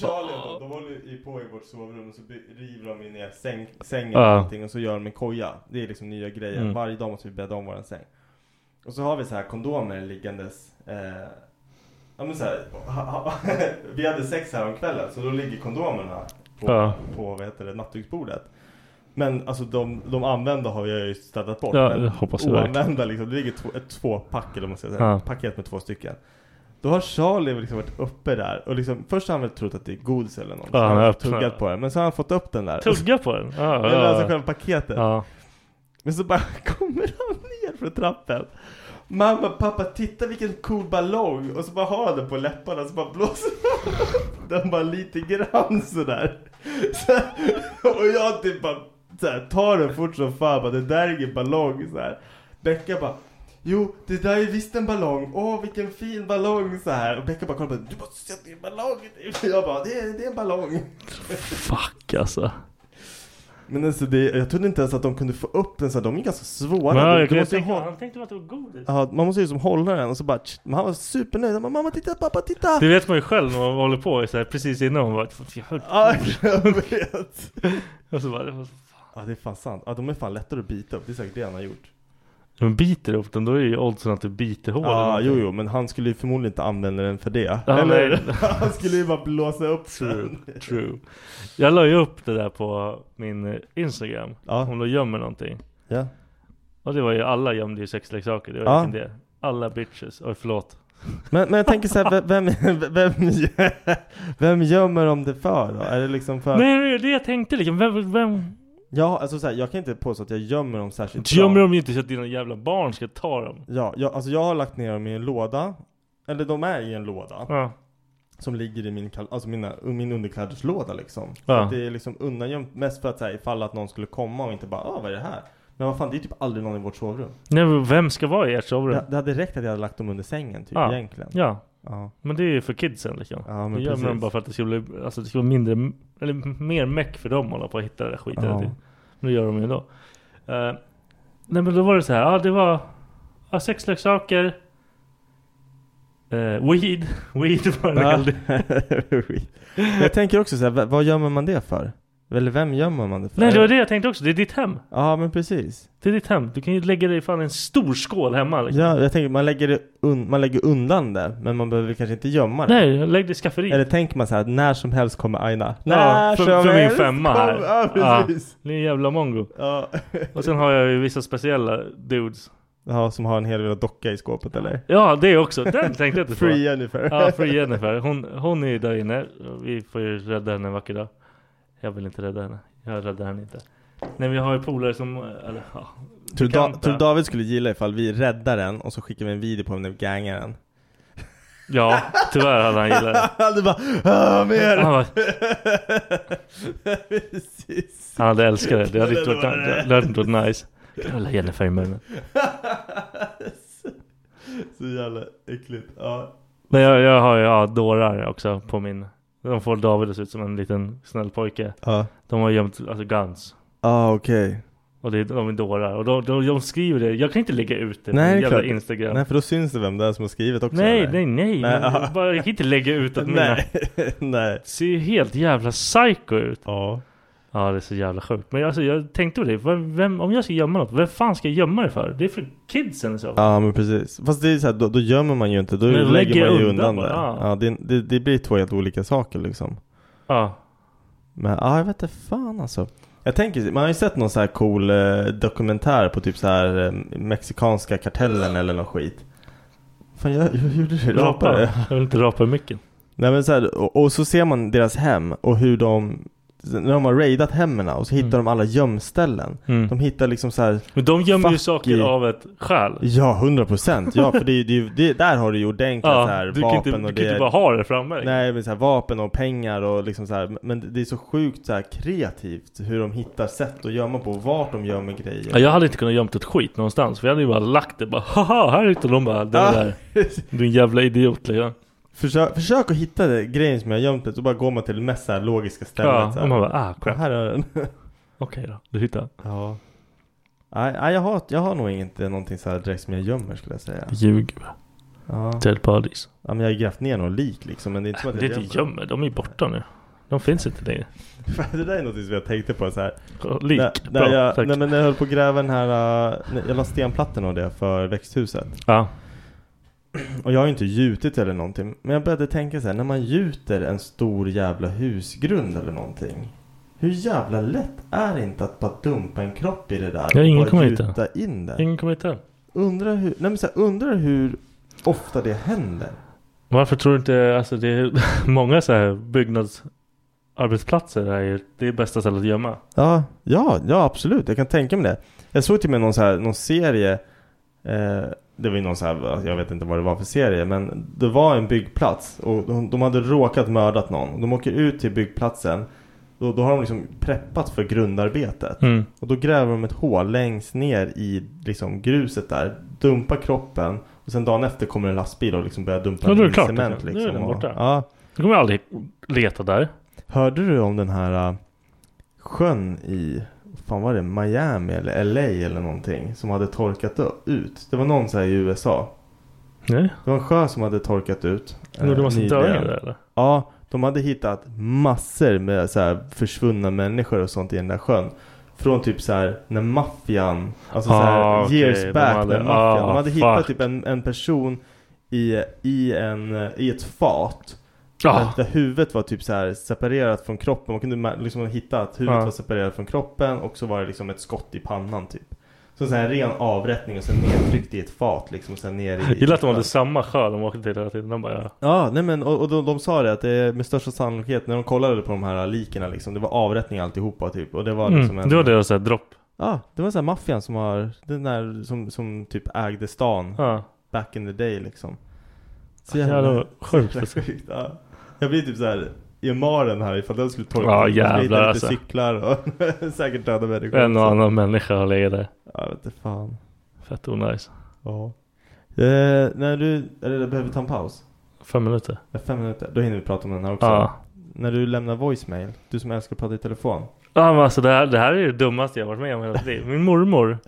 Speaker 7: Charlie och de, de håller ju på i vårt sovrum och så by- river de in ner säng, sängen och
Speaker 3: Ja.
Speaker 7: allting och så gör de en koja. Det är liksom nya grejer.
Speaker 3: Mm.
Speaker 7: Varje dag måste vi bädda om våran säng. Och så har vi så här kondomer liggandes. Eh, ja men så här, vi hade sex här om kvällen så då ligger kondomerna på,
Speaker 3: Ja.
Speaker 7: på vad heter det, nattduksbordet. Men alltså de, de använda har jag ju städat bort.
Speaker 3: Ja,
Speaker 7: men
Speaker 3: det hoppas jag
Speaker 7: oanvända
Speaker 3: verkligen.
Speaker 7: liksom, det ligger två, ett tvåpack eller vad man ska säga,
Speaker 3: Ja.
Speaker 7: ett paket med två stycken. Då har Charlie liksom varit uppe där och liksom, först har han väl trott att det är godis eller något.
Speaker 3: Ja,
Speaker 7: så
Speaker 3: han
Speaker 7: har
Speaker 3: har öppnat-
Speaker 7: tuggat på det, men så har han fått upp den där.
Speaker 3: Tugga på den? Ja,
Speaker 7: Eller
Speaker 3: ja, ja.
Speaker 7: alltså själva paketet.
Speaker 3: Ja.
Speaker 7: Men så bara kommer han ner för trappen. Mamma, pappa, titta vilken cool ballong! Och så bara har han den på läpparna, så bara blåser han upp den bara lite grann sådär. Så, och jag typ bara så här, tar den fort som fan, bara, det där är ingen ballong. Så här. Becka bara, jo det där är visst en ballong, åh vilken fin ballong så här. Och Becka bara kollar på den, du måste se att det är en ballong. Jag bara, det är, det är en ballong.
Speaker 3: Fuck alltså.
Speaker 7: Men alltså det, jag trodde inte ens att de kunde få upp den så här, de är ganska svåra.
Speaker 3: Men
Speaker 7: Du-
Speaker 3: jag,
Speaker 7: du
Speaker 3: jag,
Speaker 7: måste ju
Speaker 3: tänkte,
Speaker 7: ha-
Speaker 3: han tänkte att det var godis.
Speaker 7: Ja, man måste ju som hålla den och så bara tsch, men han var supernöjd. Han bara, mamma titta, pappa titta!
Speaker 3: Det vet man ju själv när man håller på så här, precis innan man bara "Fan, jag höll
Speaker 7: Ja, jag vet.
Speaker 3: Och så bara, det var så fan.
Speaker 7: Ja, det är fan sant. Ja, de är fan lättare att bita upp. Det är säkert det han har gjort.
Speaker 3: Men biter du upp den då är ju oddsen att du biter hål eller
Speaker 7: Ja,
Speaker 3: någonting.
Speaker 7: Ah, jo, jo, men han skulle ju förmodligen inte använda den för det.
Speaker 3: Ja,
Speaker 7: Eller?
Speaker 3: nej.
Speaker 7: han skulle ju bara blåsa upp
Speaker 3: True,
Speaker 7: den.
Speaker 3: true. Jag la ju upp det där på min eh, Instagram.
Speaker 7: Ja.
Speaker 3: Om du gömmer någonting.
Speaker 7: Ja.
Speaker 3: Och det var ju alla gömde ju sexleksaker. Det var
Speaker 7: Ja.
Speaker 3: ja. det. Alla bitches. Oj förlåt.
Speaker 7: Men, men jag tänker så här, ve- vem, vem, vem, vem gömmer de det för då? Är det liksom för...
Speaker 3: Nej, det är det jag tänkte liksom. Vem, vem?
Speaker 7: Ja, alltså så här, jag kan inte påstå att jag gömmer dem särskilt bra.
Speaker 3: Gömmer de ju inte så att dina jävla barn ska ta dem.
Speaker 7: Ja, jag, alltså jag har lagt ner dem i en låda. Eller de är i en låda.
Speaker 3: Ja.
Speaker 7: Som ligger i min, kal- alltså mina, min underklädeslåda liksom. Så
Speaker 3: Ja.
Speaker 7: att det är liksom undangömt mest för att säga ifall att någon skulle komma och inte bara ah vad är det här? Men vad fan det är typ aldrig någon i vårt sovrum.
Speaker 3: Nej, men vem ska vara i ert sovrum?
Speaker 7: Det, det hade räckt att jag hade lagt dem under sängen typ
Speaker 3: Ja.
Speaker 7: egentligen.
Speaker 3: Ja.
Speaker 7: Ja.
Speaker 3: Men det är ju för kidsen liksom.
Speaker 7: Ja, men
Speaker 3: det gör
Speaker 7: precis.
Speaker 3: man bara för att det ska bli, alltså det ska vara mindre, eller mer meck för dem att hålla på och hitta det där skiten.
Speaker 7: Ja.
Speaker 3: hela tiden. Men det gör de ju ändå. Eh, nej men då var det så här, ja det var ja, sexleksaker. eh, weed, weed var det
Speaker 7: Ja.
Speaker 3: aldrig.
Speaker 7: Men jag tänker också så här, v- vad gömmer man det för? Eller vem gömmer man det för?
Speaker 3: Nej det var det jag tänkte också, det är ditt hem.
Speaker 7: Ja men precis.
Speaker 3: Det är ditt hem. Du kan ju lägga dig fan i en stor skål hemma. Liksom.
Speaker 7: Ja, jag tänker man lägger, det un- man lägger undan det men man behöver kanske inte gömma det.
Speaker 3: Nej, lägg dig i skafferiet.
Speaker 7: Eller tänker man så här, när som helst kommer Aina.
Speaker 3: Ja,
Speaker 7: När
Speaker 3: för,
Speaker 7: som
Speaker 3: för min
Speaker 7: helst
Speaker 3: femma här.
Speaker 7: kommer- Ja precis.
Speaker 3: Ja, ni är jävla mongo.
Speaker 7: Ja.
Speaker 3: Och sen har jag ju vissa speciella dudes.
Speaker 7: Ja, som har en hel del docka i skåpet eller?
Speaker 3: Ja, det också. Den tänkte jag inte på.
Speaker 7: Free Jennifer.
Speaker 3: Ja, Free Jennifer. Hon, hon är ju där inne. Vi får ju rädda henne en vacker dag. Jag vill inte rädda henne. Jag räddar henne inte. Nej, vi har ju polare som... Eller, ja,
Speaker 7: Tror du da-
Speaker 3: bekanta.
Speaker 7: tror du David skulle gilla ifall vi räddar den och så skickar vi en video på när vi gangar den?
Speaker 3: Ja, tyvärr hade han gillat det.
Speaker 7: du bara "Ah,
Speaker 3: Han,
Speaker 7: mer!
Speaker 3: var,
Speaker 7: Precis.
Speaker 3: han hade älskat det. Det hade inte
Speaker 7: Det
Speaker 3: varit,
Speaker 7: var det.
Speaker 3: det hade inte varit nice. Jag håller Jennifer i munnen.
Speaker 7: Så jävla äckligt. Ja.
Speaker 3: Men jag, jag har ju ja, dårar också på min... De får David att se ut som en liten snäll pojke.
Speaker 7: Ja.
Speaker 3: De har gömt alltså, guns.
Speaker 7: Ah, okej.
Speaker 3: Och det, är- de är dårar. Och de, de, de skriver det. Jag kan inte lägga ut det på
Speaker 7: Nej, det är
Speaker 3: min jävla
Speaker 7: klart.
Speaker 3: Instagram.
Speaker 7: Nej, för då syns det vem det är som har skrivit också.
Speaker 3: Nej,
Speaker 7: eller?
Speaker 3: nej, nej.
Speaker 7: Nej,
Speaker 3: Men
Speaker 7: ja.
Speaker 3: jag bara, jag kan inte lägga ut att mina
Speaker 7: Nej, nej.
Speaker 3: ser ju helt jävla psycho ut.
Speaker 7: Ja.
Speaker 3: Ja, det är så jävla sjukt. Men alltså, jag tänkte på det. Vem, vem, om jag ska gömma något, vem fan ska jag gömma det för? Det är för kidsen i så fall.
Speaker 7: Ja men precis. Fast det är så här, då, då gömmer man ju inte, då
Speaker 3: Men
Speaker 7: lägger,
Speaker 3: lägger
Speaker 7: man ju
Speaker 3: undan
Speaker 7: undan,
Speaker 3: bara,
Speaker 7: det.
Speaker 3: ja.
Speaker 7: Ja, det, det, det blir två helt olika saker liksom.
Speaker 3: Ja.
Speaker 7: Men ja, jag vet inte fan alltså. Jag tänker, man har ju sett någon så här cool eh, dokumentär på typ så här eh, mexikanska kartellen eller någon skit. Fan jag, jag gjorde det,
Speaker 3: Rapa.
Speaker 7: rapade.
Speaker 3: Jag vill inte rapa i micken.
Speaker 7: Nej men så här, och, och så ser man deras hem och hur de, när de har raidat hemmen och så hittar
Speaker 3: Mm.
Speaker 7: de alla gömställen.
Speaker 3: Mm.
Speaker 7: De hittar liksom så här,
Speaker 3: Men de gömmer ju
Speaker 7: Fuck
Speaker 3: saker
Speaker 7: you.
Speaker 3: av ett skäl.
Speaker 7: ja 100 procent. Ja för det, är- det, är ju- det, där har du ju ordentliga så här
Speaker 3: Ja, du kan
Speaker 7: vapen
Speaker 3: inte, du
Speaker 7: och
Speaker 3: kan
Speaker 7: det.
Speaker 3: inte bara ha det framme.
Speaker 7: Nej men så här, vapen och pengar och liksom så här, Men det är så sjukt så här kreativt Hur de hittar sätt att gömma på och Vart de gömmer grejer
Speaker 3: Ja, jag hade inte kunnat gömt ett skit någonstans. För jag hade ju bara lagt det bara haha, här ute. Och de bara, det
Speaker 7: Ah.
Speaker 3: där. Du är en jävla idiot liksom.
Speaker 7: försök, försök att hitta det, grejen som jag har gömt det Så bara går man till det mest så här logiska stället
Speaker 3: Ja,
Speaker 7: så
Speaker 3: och
Speaker 7: här.
Speaker 3: man bara, ah
Speaker 7: Ja,
Speaker 3: crap.
Speaker 7: här är den
Speaker 3: Okej då, du hittar.
Speaker 7: Ja Nej, nej, jag, har, jag har nog inte någonting så här direkt som jag gömmer skulle jag säga
Speaker 3: Ljug.
Speaker 7: Ja,
Speaker 3: Dead bodies.
Speaker 7: ja men jag har ju grävt ner någon lik liksom Men det är inte som att
Speaker 3: Det är
Speaker 7: jag
Speaker 3: inte gömmer, de är ju borta nu. De finns inte längre.
Speaker 7: Det där är något som jag tänkte på så här
Speaker 3: Lik.
Speaker 7: När,
Speaker 3: Bra,
Speaker 7: när jag,
Speaker 3: tack.
Speaker 7: nej, men när jag höll på att gräva den här eh, när- Jag la stenplattan och det för växthuset
Speaker 3: ja.
Speaker 7: Och jag har ju inte gjutit eller någonting. Men jag började tänka så här, när man gjuter en stor jävla husgrund eller någonting. Hur jävla lätt är det inte att bara dumpa en kropp i det där?
Speaker 3: Ja,
Speaker 7: och
Speaker 3: ingen
Speaker 7: bara
Speaker 3: kommer
Speaker 7: gjuta
Speaker 3: hitta.
Speaker 7: in det?
Speaker 3: Ingen kommer hitta.
Speaker 7: Undrar hur, nej men så här, undrar hur ofta det händer?
Speaker 3: Varför tror du inte, alltså det är många så här byggnadsarbetsplatser här är, det är bästa stället att gömma.
Speaker 7: Ja, ja, ja absolut. Jag kan tänka mig det. Jag såg till och med någon, så här, någon serie. Eh, det var ju någon så här, jag vet inte vad det var för serie. Men det var en byggplats. Och de, de hade råkat mördat någon. De åker ut till byggplatsen. Då, då har de liksom preppat för grundarbetet.
Speaker 3: Mm.
Speaker 7: Och då gräver de ett hål längst ner i liksom, gruset där. Dumpar kroppen. Och sen dagen efter kommer en lastbil och liksom börjar dumpa
Speaker 3: Ja, då är det
Speaker 7: i
Speaker 3: klart.
Speaker 7: cement.
Speaker 3: Nu är
Speaker 7: Liksom,
Speaker 3: den
Speaker 7: och,
Speaker 3: borta.
Speaker 7: ja.
Speaker 3: Du kommer aldrig leta där.
Speaker 7: Hörde du om den här äh, sjön i fan var det Miami eller LA eller någonting som hade torkat ö- ut? Det var någon så här i USA.
Speaker 3: Nej.
Speaker 7: Det var en sjö som hade torkat ut. äh,
Speaker 3: Men gjorde massa
Speaker 7: nyligen.
Speaker 3: döingar där, eller?
Speaker 7: Ja, de hade hittat massor med så här försvunna människor och sånt i den där sjön. Från typ så här när maffian, alltså så här
Speaker 3: Ah, okej,
Speaker 7: years
Speaker 3: de
Speaker 7: back
Speaker 3: hade-
Speaker 7: när maffian.
Speaker 3: ah,
Speaker 7: de hade hittat
Speaker 3: fuck.
Speaker 7: typ en, en person i, i, en, i ett fat.
Speaker 3: Ah.
Speaker 7: Där, där huvudet var typ så här separerat från kroppen. Man kunde ma- liksom hitta att huvudet
Speaker 3: Ah.
Speaker 7: var separerat från kroppen och så var det liksom ett skott i pannan typ. Så, så här en ren avrättning och sen nedtryckt i ett fat liksom och sen ner i...
Speaker 3: Jag gillar att de hade samma sjö de åkte till hela tiden. De bara, ja.
Speaker 7: Ja, nej men och, och de, de sa det att det är med största sannolikhet när de kollade på de här liken liksom, det var avrättning alltihopa typ och det var
Speaker 3: Mm,
Speaker 7: liksom en...
Speaker 3: det var deras så här dropp.
Speaker 7: Ja, det var så här maffian som har, den där som, som typ ägde stan
Speaker 3: Ja.
Speaker 7: back in the day liksom.
Speaker 3: Ja, det var sjukt,
Speaker 7: så
Speaker 3: alltså.
Speaker 7: jävla sjukt ja. Jag blir typ så här i maren här ifall den skulle torka
Speaker 3: Ja,
Speaker 7: ut, så
Speaker 3: jävlar,
Speaker 7: hittar lite
Speaker 3: alltså.
Speaker 7: cyklar och säkert döda människor
Speaker 3: En och
Speaker 7: också.
Speaker 3: annan människa har legat där.
Speaker 7: Ja, jag vet inte fan.
Speaker 3: Fett onajs.
Speaker 7: Ja. Eh, när du, eller behöver vi ta en paus?
Speaker 3: Fem minuter.
Speaker 7: Ja, Fem minuter, då hinner vi prata om den här också.
Speaker 3: Ja.
Speaker 7: När du lämnar voicemail, du som älskar att prata i telefon.
Speaker 3: Ja men alltså det här, det här är det dummaste jag varit med om i hela mitt liv. Min mormor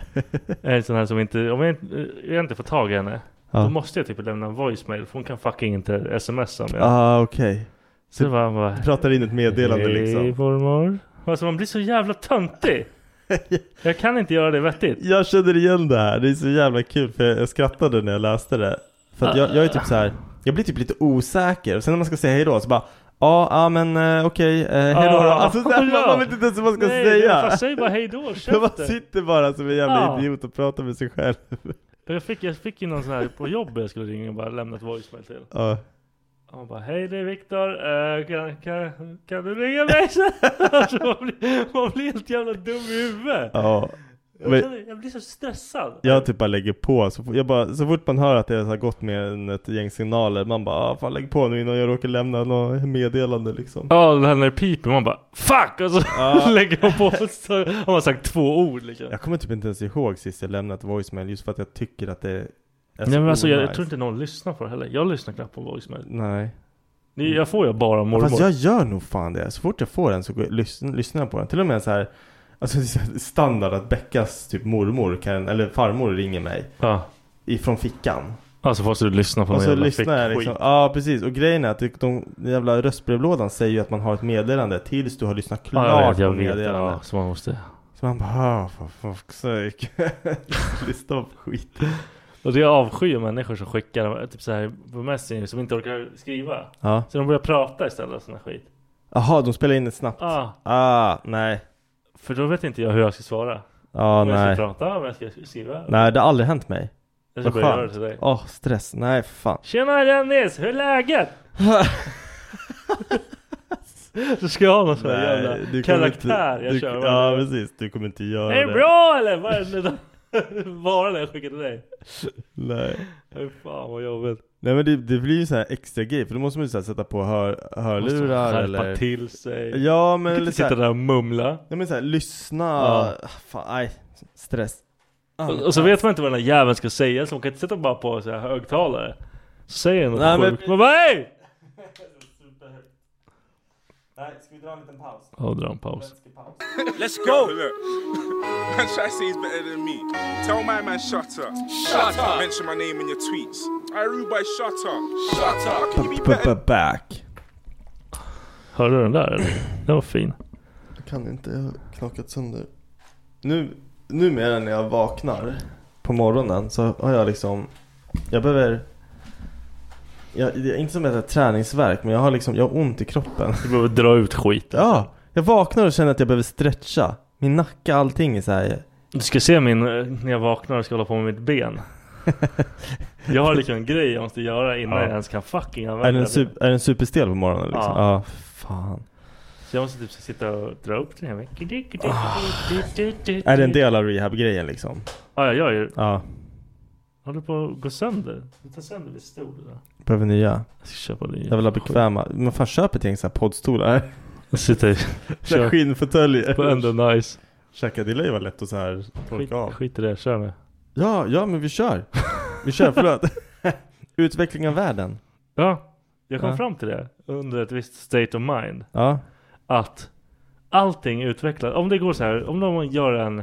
Speaker 3: är en sån här som inte, om jag, inte- jag inte får tag i henne.
Speaker 7: Ja.
Speaker 3: Då måste jag typ lämna en voicemail för hon kan fucking inte smsa mig.
Speaker 7: Ah, okej.
Speaker 3: Så det var bara,
Speaker 7: Du pratar in ett typ meddelande
Speaker 3: Hej,
Speaker 7: liksom.
Speaker 3: mormor. Alltså man blir så jävla töntig. jag kan inte göra det vettigt.
Speaker 7: Jag känner igen det här, det är så jävla kul för jag, jag skrattade när jag läste det. För att jag, jag är typ så här, jag blir typ lite osäker och sen när man ska säga hejdå så bara Ja, ja men eh, okej, eh, hejdå då.
Speaker 3: Ah,
Speaker 7: Alltså, så här,
Speaker 3: ja.
Speaker 7: man vet inte ens vad man ska
Speaker 3: Nej,
Speaker 7: säga.
Speaker 3: fast säg bara hejdå,
Speaker 7: Så man
Speaker 3: käften.
Speaker 7: sitter bara som en jävla
Speaker 3: Ja.
Speaker 7: idiot och pratar med sig själv.
Speaker 3: Jag fick, jag fick ju någon sån här på jobbet jag skulle ringa och bara lämna ett voicemail till.
Speaker 7: Ja.
Speaker 3: Han bara Hej det är Viktor, Eh, kan, kan, kan du ringa mig sen? alltså, man, blir, man blir helt jävla dum i huvudet.
Speaker 7: Ja.
Speaker 3: Jag,
Speaker 7: Men-
Speaker 3: känner, jag blir så stressad.
Speaker 7: Jag typ bara lägger på, så, fort- jag bara, så fort man hör att det har gått med en- ett gäng signaler Man bara ah, fan lägg på nu innan jag råkar lämna något meddelande liksom
Speaker 3: Ja det här när det piper, man bara Fuck! Och så lägger man på så har man sagt två ord liksom.
Speaker 7: Jag kommer typ inte ens ihåg sist jag lämnat voicemail just för att jag tycker att det är så
Speaker 3: Nej men alltså jag, jag
Speaker 7: onajs.
Speaker 3: tror inte någon lyssnar på det heller. Jag lyssnar knappt på voicemail.
Speaker 7: Nej
Speaker 3: Ni- Jag får ju bara mormor.
Speaker 7: Fast jag gör nog fan det, så fort jag får den så går jag, lyssn, lyssnar jag på den Till och med så här Alltså det är så här standard att Beckas typ mormor kan, eller farmor ringer mig
Speaker 3: Ja.
Speaker 7: Ifrån fickan
Speaker 3: Alltså fast du lyssnar på
Speaker 7: Och
Speaker 3: någon
Speaker 7: så
Speaker 3: jävla
Speaker 7: lyssnar jag
Speaker 3: fick-
Speaker 7: liksom,
Speaker 3: skit.
Speaker 7: ja precis. Och grejen är att det- de, den jävla röstbrevlådan säger ju att man har ett meddelande tills du har lyssnat klart
Speaker 3: Ja, jag vet, jag
Speaker 7: på
Speaker 3: vet.
Speaker 7: meddelandet.
Speaker 3: Ja, så man måste.
Speaker 7: Så man bara, ah, for fuck's sake. Lyssna på skit.
Speaker 3: Och det jag avskyr människor som skickar typ så här på Messenger som inte orkar skriva.
Speaker 7: Ja.
Speaker 3: Så de börjar prata istället och sån här skit.
Speaker 7: Jaha, de spelar in det snabbt.
Speaker 3: Ja.
Speaker 7: Ah, nej.
Speaker 3: För då vet inte jag hur jag ska svara.
Speaker 7: Ja,
Speaker 3: om jag
Speaker 7: ah, nej.
Speaker 3: ska prata, om jag ska skriva.
Speaker 7: Nej, det har aldrig hänt mig.
Speaker 3: Jag ska
Speaker 7: Vad
Speaker 3: börja göra
Speaker 7: skönt.
Speaker 3: det till dig.
Speaker 7: Åh, stress. Nej, för fan.
Speaker 3: Tjena Dennis, hur är läget? Så ska jag ha någon sån här
Speaker 7: Nej, du
Speaker 3: jävla
Speaker 7: kommer
Speaker 3: karaktär
Speaker 7: inte-
Speaker 3: jag
Speaker 7: du,
Speaker 3: kör.
Speaker 7: Ja, precis. Du kommer inte göra
Speaker 3: är det bra eller? Vad är det då? Bara det jag skickar till dig.
Speaker 7: Nej.
Speaker 3: Fy fan vad jobbigt.
Speaker 7: Nej men det, det blir ju så här extra grej för då måste man ju så här sätta på hör, hörlurar
Speaker 3: Skärpa
Speaker 7: eller
Speaker 3: till sig.
Speaker 7: Ja men
Speaker 3: Man kan
Speaker 7: eller
Speaker 3: inte
Speaker 7: så här-
Speaker 3: sitta där och mumla.
Speaker 7: Nej men såhär, lyssna, Ah,
Speaker 3: Ja.
Speaker 7: fan, nej, stress.
Speaker 3: Och, och så vet man inte vad den här jäveln ska säga så man kan inte sätta bara på så här högtalare. Så säger den
Speaker 7: Nej,
Speaker 3: något
Speaker 7: men-
Speaker 3: sjukt. Man bara hej!
Speaker 7: Nej, ska vi dra en liten paus?
Speaker 3: Ja, dra en paus.
Speaker 8: Let's go. Man try to say he's better than me. Tell my man shut up. Shut up. Mention my name in your tweets. I rude by shut up. Shut up. Can you be better?
Speaker 7: Back.
Speaker 3: Hörde du den där eller? Den var fin.
Speaker 7: Jag kan inte, jag har knakat sönder. Nu, numera när jag vaknar på morgonen så har jag liksom, jag behöver jag, det är inte som ett träningsverk men jag har liksom, jag har ont i kroppen.
Speaker 3: Du behöver dra ut skiten.
Speaker 7: Ja, Jag vaknar och känner att jag behöver stretcha. Min nacke, allting är så här.
Speaker 3: Du ska se min, eh, när jag vaknar och ska hålla på med mitt ben. Jag har liksom en grej jag måste göra innan
Speaker 7: Ja.
Speaker 3: jag ens kan fucking använda
Speaker 7: Är den,
Speaker 3: det.
Speaker 7: sup- är den superstel på morgonen liksom?
Speaker 3: Ja.
Speaker 7: Ja. fan.
Speaker 3: Så jag måste typ sitta och dra upp den här veckan.
Speaker 7: Ah. Är det en del av rehab-grejen liksom?
Speaker 3: Ja, jag gör ju.
Speaker 7: Ja.
Speaker 3: Håller på att gå sönder. Du tar sönder vid stol. Där.
Speaker 7: Behöver nya.
Speaker 3: Jag ska köpa nya.
Speaker 7: Jag vill ha bekväma. Men fan köp ett gäng såhär poddstolar.
Speaker 3: Sitta i...
Speaker 7: Kör. Skinnfåtöljer.
Speaker 3: På ändå nice.
Speaker 7: Chacadilla var lätt att såhär
Speaker 3: Skit,
Speaker 7: torka av.
Speaker 3: skit i det, kör med.
Speaker 7: Ja, ja men vi kör. Vi kör, förlåt. Utveckling av världen.
Speaker 3: Ja, jag kom
Speaker 7: Ja.
Speaker 3: fram till det under ett visst state of mind.
Speaker 7: Ja.
Speaker 3: Att allting utvecklas. Om det går så här, om någon gör en...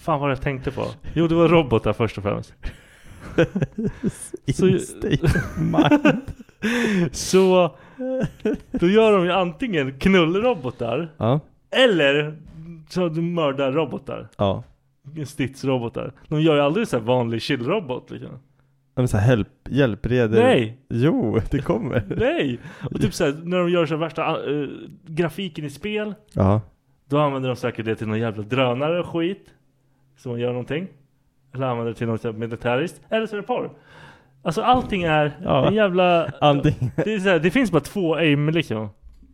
Speaker 3: Fan vad jag tänkte på. Jo, det var robotar först och främst.
Speaker 7: In state of mind.
Speaker 3: Så då gör de ju antingen knullrobotar
Speaker 7: Ja.
Speaker 3: eller så de mördar robotar.
Speaker 7: Ja.
Speaker 3: Stridsrobotar. De gör ju aldrig så här vanlig chillrobot liksom.
Speaker 7: Ja, Men så här, help, hjälpreder.
Speaker 3: Nej.
Speaker 7: Jo, det kommer.
Speaker 3: Nej! Och typ såhär, när de gör så här värsta eh, grafiken i spel
Speaker 7: Ja.
Speaker 3: Då använder de säkert det till någon jävla drönare och skit Som gör någonting Eller använder det till något så här militäriskt Eller så är det porr Alltså allting är
Speaker 7: Ja.
Speaker 3: en jävla
Speaker 7: Antingen-
Speaker 3: det, är så här, det finns bara två aim liksom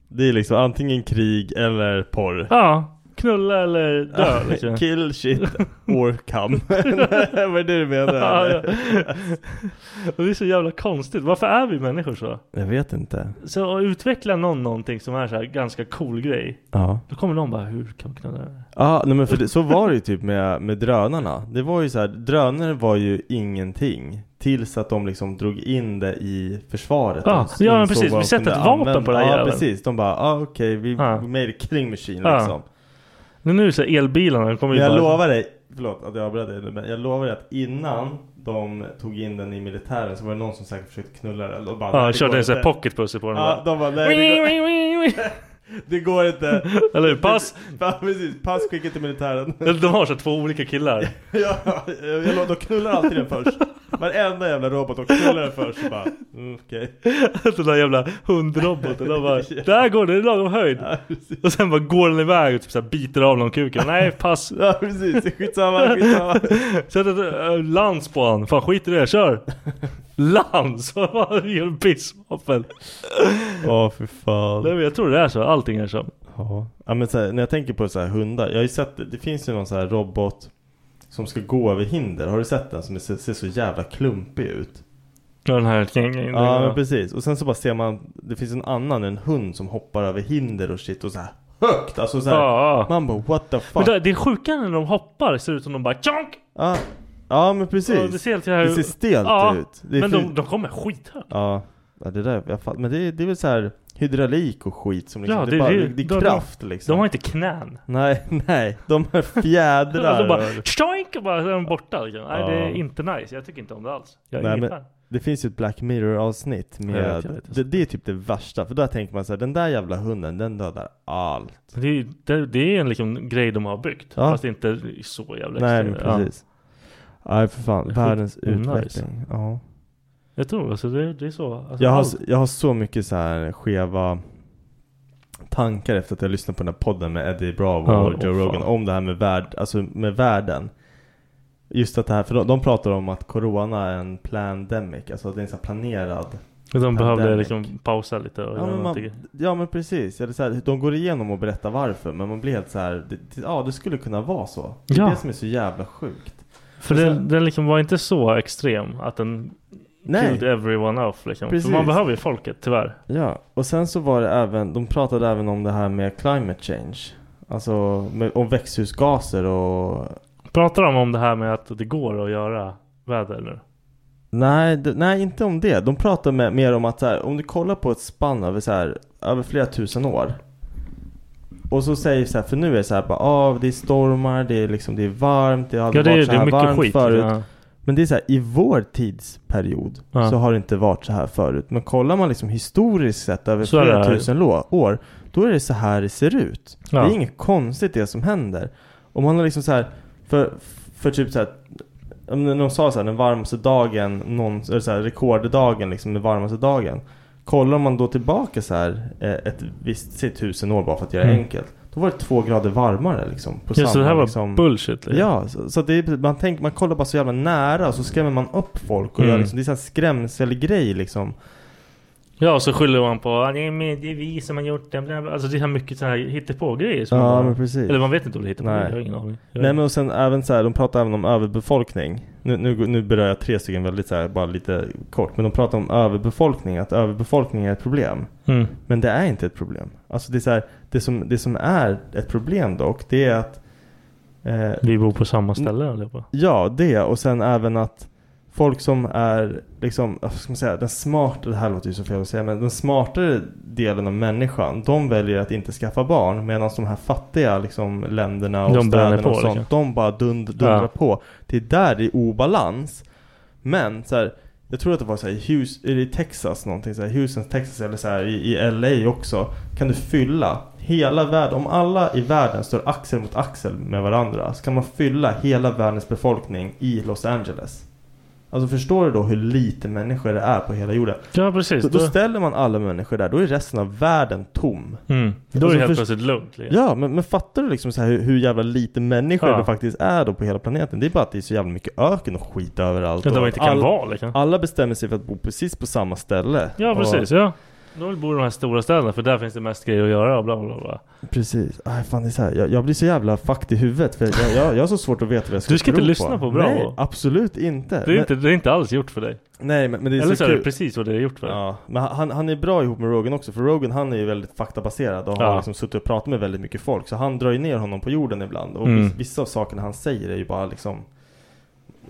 Speaker 7: Det är liksom antingen krig eller porr.
Speaker 3: Ja, knulla eller dö liksom
Speaker 7: Kill shit or come. Vad är det du menar?
Speaker 3: Ja, ja.
Speaker 7: eller?
Speaker 3: Och Det är så jävla konstigt, varför är vi människor så?
Speaker 7: Jag vet inte.
Speaker 3: Så utvecklar någon någonting som är så här ganska cool grej
Speaker 7: Ja.
Speaker 3: Då kommer någon bara, hur kan vi knulla det här?
Speaker 7: Ja, nej men för det, så var det ju typ med, med drönarna. Det var ju så här, drönare var ju ingenting. Tills att de liksom drog in det i försvaret.
Speaker 3: Ja,
Speaker 7: De
Speaker 3: ja, men
Speaker 7: insåg
Speaker 3: precis.
Speaker 7: vad
Speaker 3: Vi
Speaker 7: de
Speaker 3: sätter
Speaker 7: kunde
Speaker 3: ett vapen
Speaker 7: använda.
Speaker 3: på den här
Speaker 7: Ja,
Speaker 3: jäveln.
Speaker 7: precis. De bara, ah, okej, vi
Speaker 3: Ja.
Speaker 7: made a killing machine
Speaker 3: Ja.
Speaker 7: liksom.
Speaker 3: Nu nu är det så här elbilarna, de kommer
Speaker 7: Men
Speaker 3: ju
Speaker 7: jag
Speaker 3: bara
Speaker 7: lovar dig, förlåt att jag avbröt dig nu, men jag lovar dig att innan de tog in den i militären så var det någon som säkert försökte knulla den. Och bara,
Speaker 3: Ja,
Speaker 7: "Nej, det
Speaker 3: körde
Speaker 7: går
Speaker 3: en sån här
Speaker 7: inte."
Speaker 3: pocketpussel på den
Speaker 7: Ja,
Speaker 3: bara.
Speaker 7: de bara nej det
Speaker 3: går,
Speaker 7: det går inte.
Speaker 3: Eller hur? Pass!
Speaker 7: Ja, precis. Pass skicka till militären.
Speaker 3: De har så här två olika killar
Speaker 7: Ja, jag, jag, de knullar alltid den först. Varenda jävla robot, de knullar den först. Och bara, mm, okej.
Speaker 3: Den där jävla hundroboten, de bara Där går det, det är lagom höjd! och sen bara går den iväg och typ så här biter av någon kuken Nej pass!
Speaker 7: Ja, precis. Skitsamma, skitsamma.
Speaker 3: Sätt ett äh, lans på han, fan skit i det, kör! Lans! Vad fan du gör en pissvapen?
Speaker 7: Åh, för fan.
Speaker 3: Nej men jag tror det är så, allting är så
Speaker 7: Ja, ja men så här, när jag tänker på så här hundar. Jag har ju sett, det finns ju någon så här robot som ska gå över hinder. Har du sett den? Som ser, ser så jävla klumpig ut.
Speaker 3: Ja, Den här
Speaker 7: Ja, men precis. Och sen så bara ser man, det finns en annan, en hund som hoppar över hinder och shit och så här högt. Alltså så här,
Speaker 3: Ja, ja.
Speaker 7: man bara what the fuck.
Speaker 3: Men det, det är sjuka när de hoppar, ser det ut som de bara tjonk!
Speaker 7: Ja, ja men precis.
Speaker 3: Ja, det ser helt jävla-
Speaker 7: Det ser stelt
Speaker 3: Ja,
Speaker 7: ut. Det är
Speaker 3: men
Speaker 7: fy-
Speaker 3: de, de kommer skithögt.
Speaker 7: Ja, ja det där, jag fatt, men det, är- det är väl så här hydraulik och skit som liksom,
Speaker 3: Ja,
Speaker 7: det,
Speaker 3: det-
Speaker 7: är bara,
Speaker 3: det-
Speaker 7: det, det
Speaker 3: de-
Speaker 7: är kraft
Speaker 3: de-
Speaker 7: liksom.
Speaker 3: de har inte knän.
Speaker 7: Nej, nej. De har fjädrar.
Speaker 3: de bara
Speaker 7: och-
Speaker 3: tjoink och bara så är de borta. Liksom. Nej
Speaker 7: Ja.
Speaker 3: det är inte nice, jag tycker inte om det alls. Jag är
Speaker 7: Nej,
Speaker 3: ingen
Speaker 7: men
Speaker 3: fan.
Speaker 7: det finns ju ett Black Mirror avsnitt med
Speaker 3: Jag vet, jag vet.
Speaker 7: det, det är typ det värsta, för där tänker man så här, den där jävla hunden, den dödar allt.
Speaker 3: Men Det, är- det, det är en liksom grej de har byggt.
Speaker 7: Ja.
Speaker 3: Fast inte så jävla
Speaker 7: Nej men
Speaker 3: extremt. Ja.
Speaker 7: precis. Nej för fan,
Speaker 3: Sjukt
Speaker 7: världens
Speaker 3: nice.
Speaker 7: utveckling. Ja.
Speaker 3: Jag tror alltså det, det är så. Alltså,
Speaker 7: Jag har,
Speaker 3: allt.
Speaker 7: jag har så mycket så här skeva tankar efter att jag lyssnat på den här podden med Eddie Bravo
Speaker 3: Ja,
Speaker 7: och Joe
Speaker 3: åh, fan.
Speaker 7: Rogan om det här med, värld, alltså med världen. Just att det här, för de, de pratar om att corona är en pandemic, alltså att det är en så här planerad
Speaker 3: De behövde
Speaker 7: Pandemic.
Speaker 3: liksom pausa lite och
Speaker 7: Ja
Speaker 3: göra
Speaker 7: men,
Speaker 3: någonting.
Speaker 7: man, ja men precis, ja, det är så här, de går igenom och berättar varför men man blir helt så här, det, det- ja det skulle kunna vara så. Det är
Speaker 3: Ja.
Speaker 7: det som är så jävla sjukt.
Speaker 3: För
Speaker 7: Och
Speaker 3: den,
Speaker 7: sen-
Speaker 3: den liksom var inte så extrem att den
Speaker 7: Nej.
Speaker 3: killed everyone off liksom.
Speaker 7: Precis.
Speaker 3: För man behöver ju folket tyvärr.
Speaker 7: Ja, och sen så var det även, de pratade även om det här med climate change. Alltså med, om växthusgaser och...
Speaker 3: Pratar de om det här med att det går att göra väder nu?
Speaker 7: Nej, det- nej inte om det. De pratar med, mer om att så här, om du kollar på ett spann över, så här, över flera tusen år. Och så säger så här, för nu är det så här bara, ah, det är stormar, det är liksom, det är varmt, det har aldrig
Speaker 3: Ja, det är-
Speaker 7: varit så
Speaker 3: det är
Speaker 7: här
Speaker 3: mycket
Speaker 7: varmt
Speaker 3: skit,
Speaker 7: förut.
Speaker 3: ja.
Speaker 7: Men det är så här, i vår tidsperiod
Speaker 3: Ja.
Speaker 7: så har det inte varit så här förut. Men kollar man liksom historiskt sett över
Speaker 3: Så är
Speaker 7: flera
Speaker 3: det här.
Speaker 7: tusen lo- år, då är det så här det ser ut.
Speaker 3: Ja.
Speaker 7: Det är inget konstigt det som händer. Om man har liksom så här, för, för typ så här, om de- de sa så här, den varmaste dagen, någon, eller så här, rekorddagen liksom, den varmaste dagen. Kollar man då tillbaka så här eh, ett visst, säg tusen år bara för att göra det
Speaker 3: Mm.
Speaker 7: enkelt. Då var det två grader varmare liksom. På
Speaker 3: Ja, så det här var bullshit, liksom.
Speaker 7: Ja, så, så att det är, man, tänker, man kollar bara så jävla nära och så skrämmer man upp folk. Och
Speaker 3: Mm.
Speaker 7: gör liksom, det är så här skrämselgrej liksom.
Speaker 3: Ja, och så skyller man på "Ah, nej, men det är vi som har gjort det. bla, bla." Alltså det är mycket sådana här hittepå-grejer. som
Speaker 7: Ja,
Speaker 3: man bara-
Speaker 7: men precis.
Speaker 3: Eller man vet inte om det är hittepå
Speaker 7: Nej.
Speaker 3: jag har ingen aning. Jag-
Speaker 7: Nej men och sen även så här, de pratar även om överbefolkning. Nu, nu, nu berör jag tre stycken väldigt så här, bara lite kort. Men de pratar om överbefolkning, att överbefolkning är ett problem.
Speaker 3: Mm.
Speaker 7: Men det är inte ett problem. Alltså det är så här, det som, det som är ett problem dock, det är att... eh,
Speaker 3: Vi bor på samma ställe allihopa.
Speaker 7: Ja, det och sen även att folk som är liksom, vad ska man säga, den smartare, det här låter ju så fel att säga, men den smartare delen av människan, de väljer att inte skaffa barn medan de här fattiga liksom länderna och
Speaker 3: De bränner
Speaker 7: städerna och
Speaker 3: på,
Speaker 7: sånt,
Speaker 3: liksom.
Speaker 7: de bara dund, dundrar
Speaker 3: Ja.
Speaker 7: på. Det är där det är obalans. Men så här, jag tror att det var så här, i Hus, eller i Texas någonting, så här, Houston, Texas eller så här, i, i LA också, kan du fylla hela världen, om alla i världen står axel mot axel med varandra, så kan man fylla hela världens befolkning i Los Angeles. Alltså förstår du då hur lite människor det är på hela jorden?
Speaker 3: Ja, precis.
Speaker 7: Då, då
Speaker 3: Då-
Speaker 7: ställer man alla människor där, då är resten av världen tom.
Speaker 3: Mm. Då är det
Speaker 7: Alltså,
Speaker 3: helt
Speaker 7: först-
Speaker 3: plötsligt lugnt. liksom.
Speaker 7: Ja, men, men fattar du liksom så här hur, hur jävla lite människor
Speaker 3: Ja.
Speaker 7: det faktiskt är då på hela planeten? Det är bara att det är så jävla mycket öken och skit överallt.
Speaker 3: Ja, där
Speaker 7: och
Speaker 3: man
Speaker 7: att
Speaker 3: inte kan vara, liksom.
Speaker 7: Alla bestämmer sig för att bo precis på samma ställe.
Speaker 3: Ja,
Speaker 7: Och-
Speaker 3: precis. Ja. Då bor de här stora städerna för där finns det mest grejer att göra och bla bla bla.
Speaker 7: Precis. Aj, fan, det är så här. Jag, jag blir så jävla fucked i huvudet för jag, jag, jag har så svårt att veta vad jag ska
Speaker 3: Du ska
Speaker 7: tro
Speaker 3: inte lyssna på Bravo.
Speaker 7: Nej, absolut inte.
Speaker 3: Det är, inte, det är inte alls gjort för dig.
Speaker 7: Nej, men, men det är
Speaker 3: Eller
Speaker 7: så
Speaker 3: så, är det
Speaker 7: kul.
Speaker 3: precis vad det är gjort för dig.
Speaker 7: Ja, men han, han är bra ihop med Rogan också för Rogan han är ju väldigt faktabaserad och har
Speaker 3: Ja.
Speaker 7: liksom suttit och pratat med väldigt mycket folk så han drar ju ner honom på jorden ibland och
Speaker 3: Mm.
Speaker 7: vis- vissa av sakerna han säger är ju bara liksom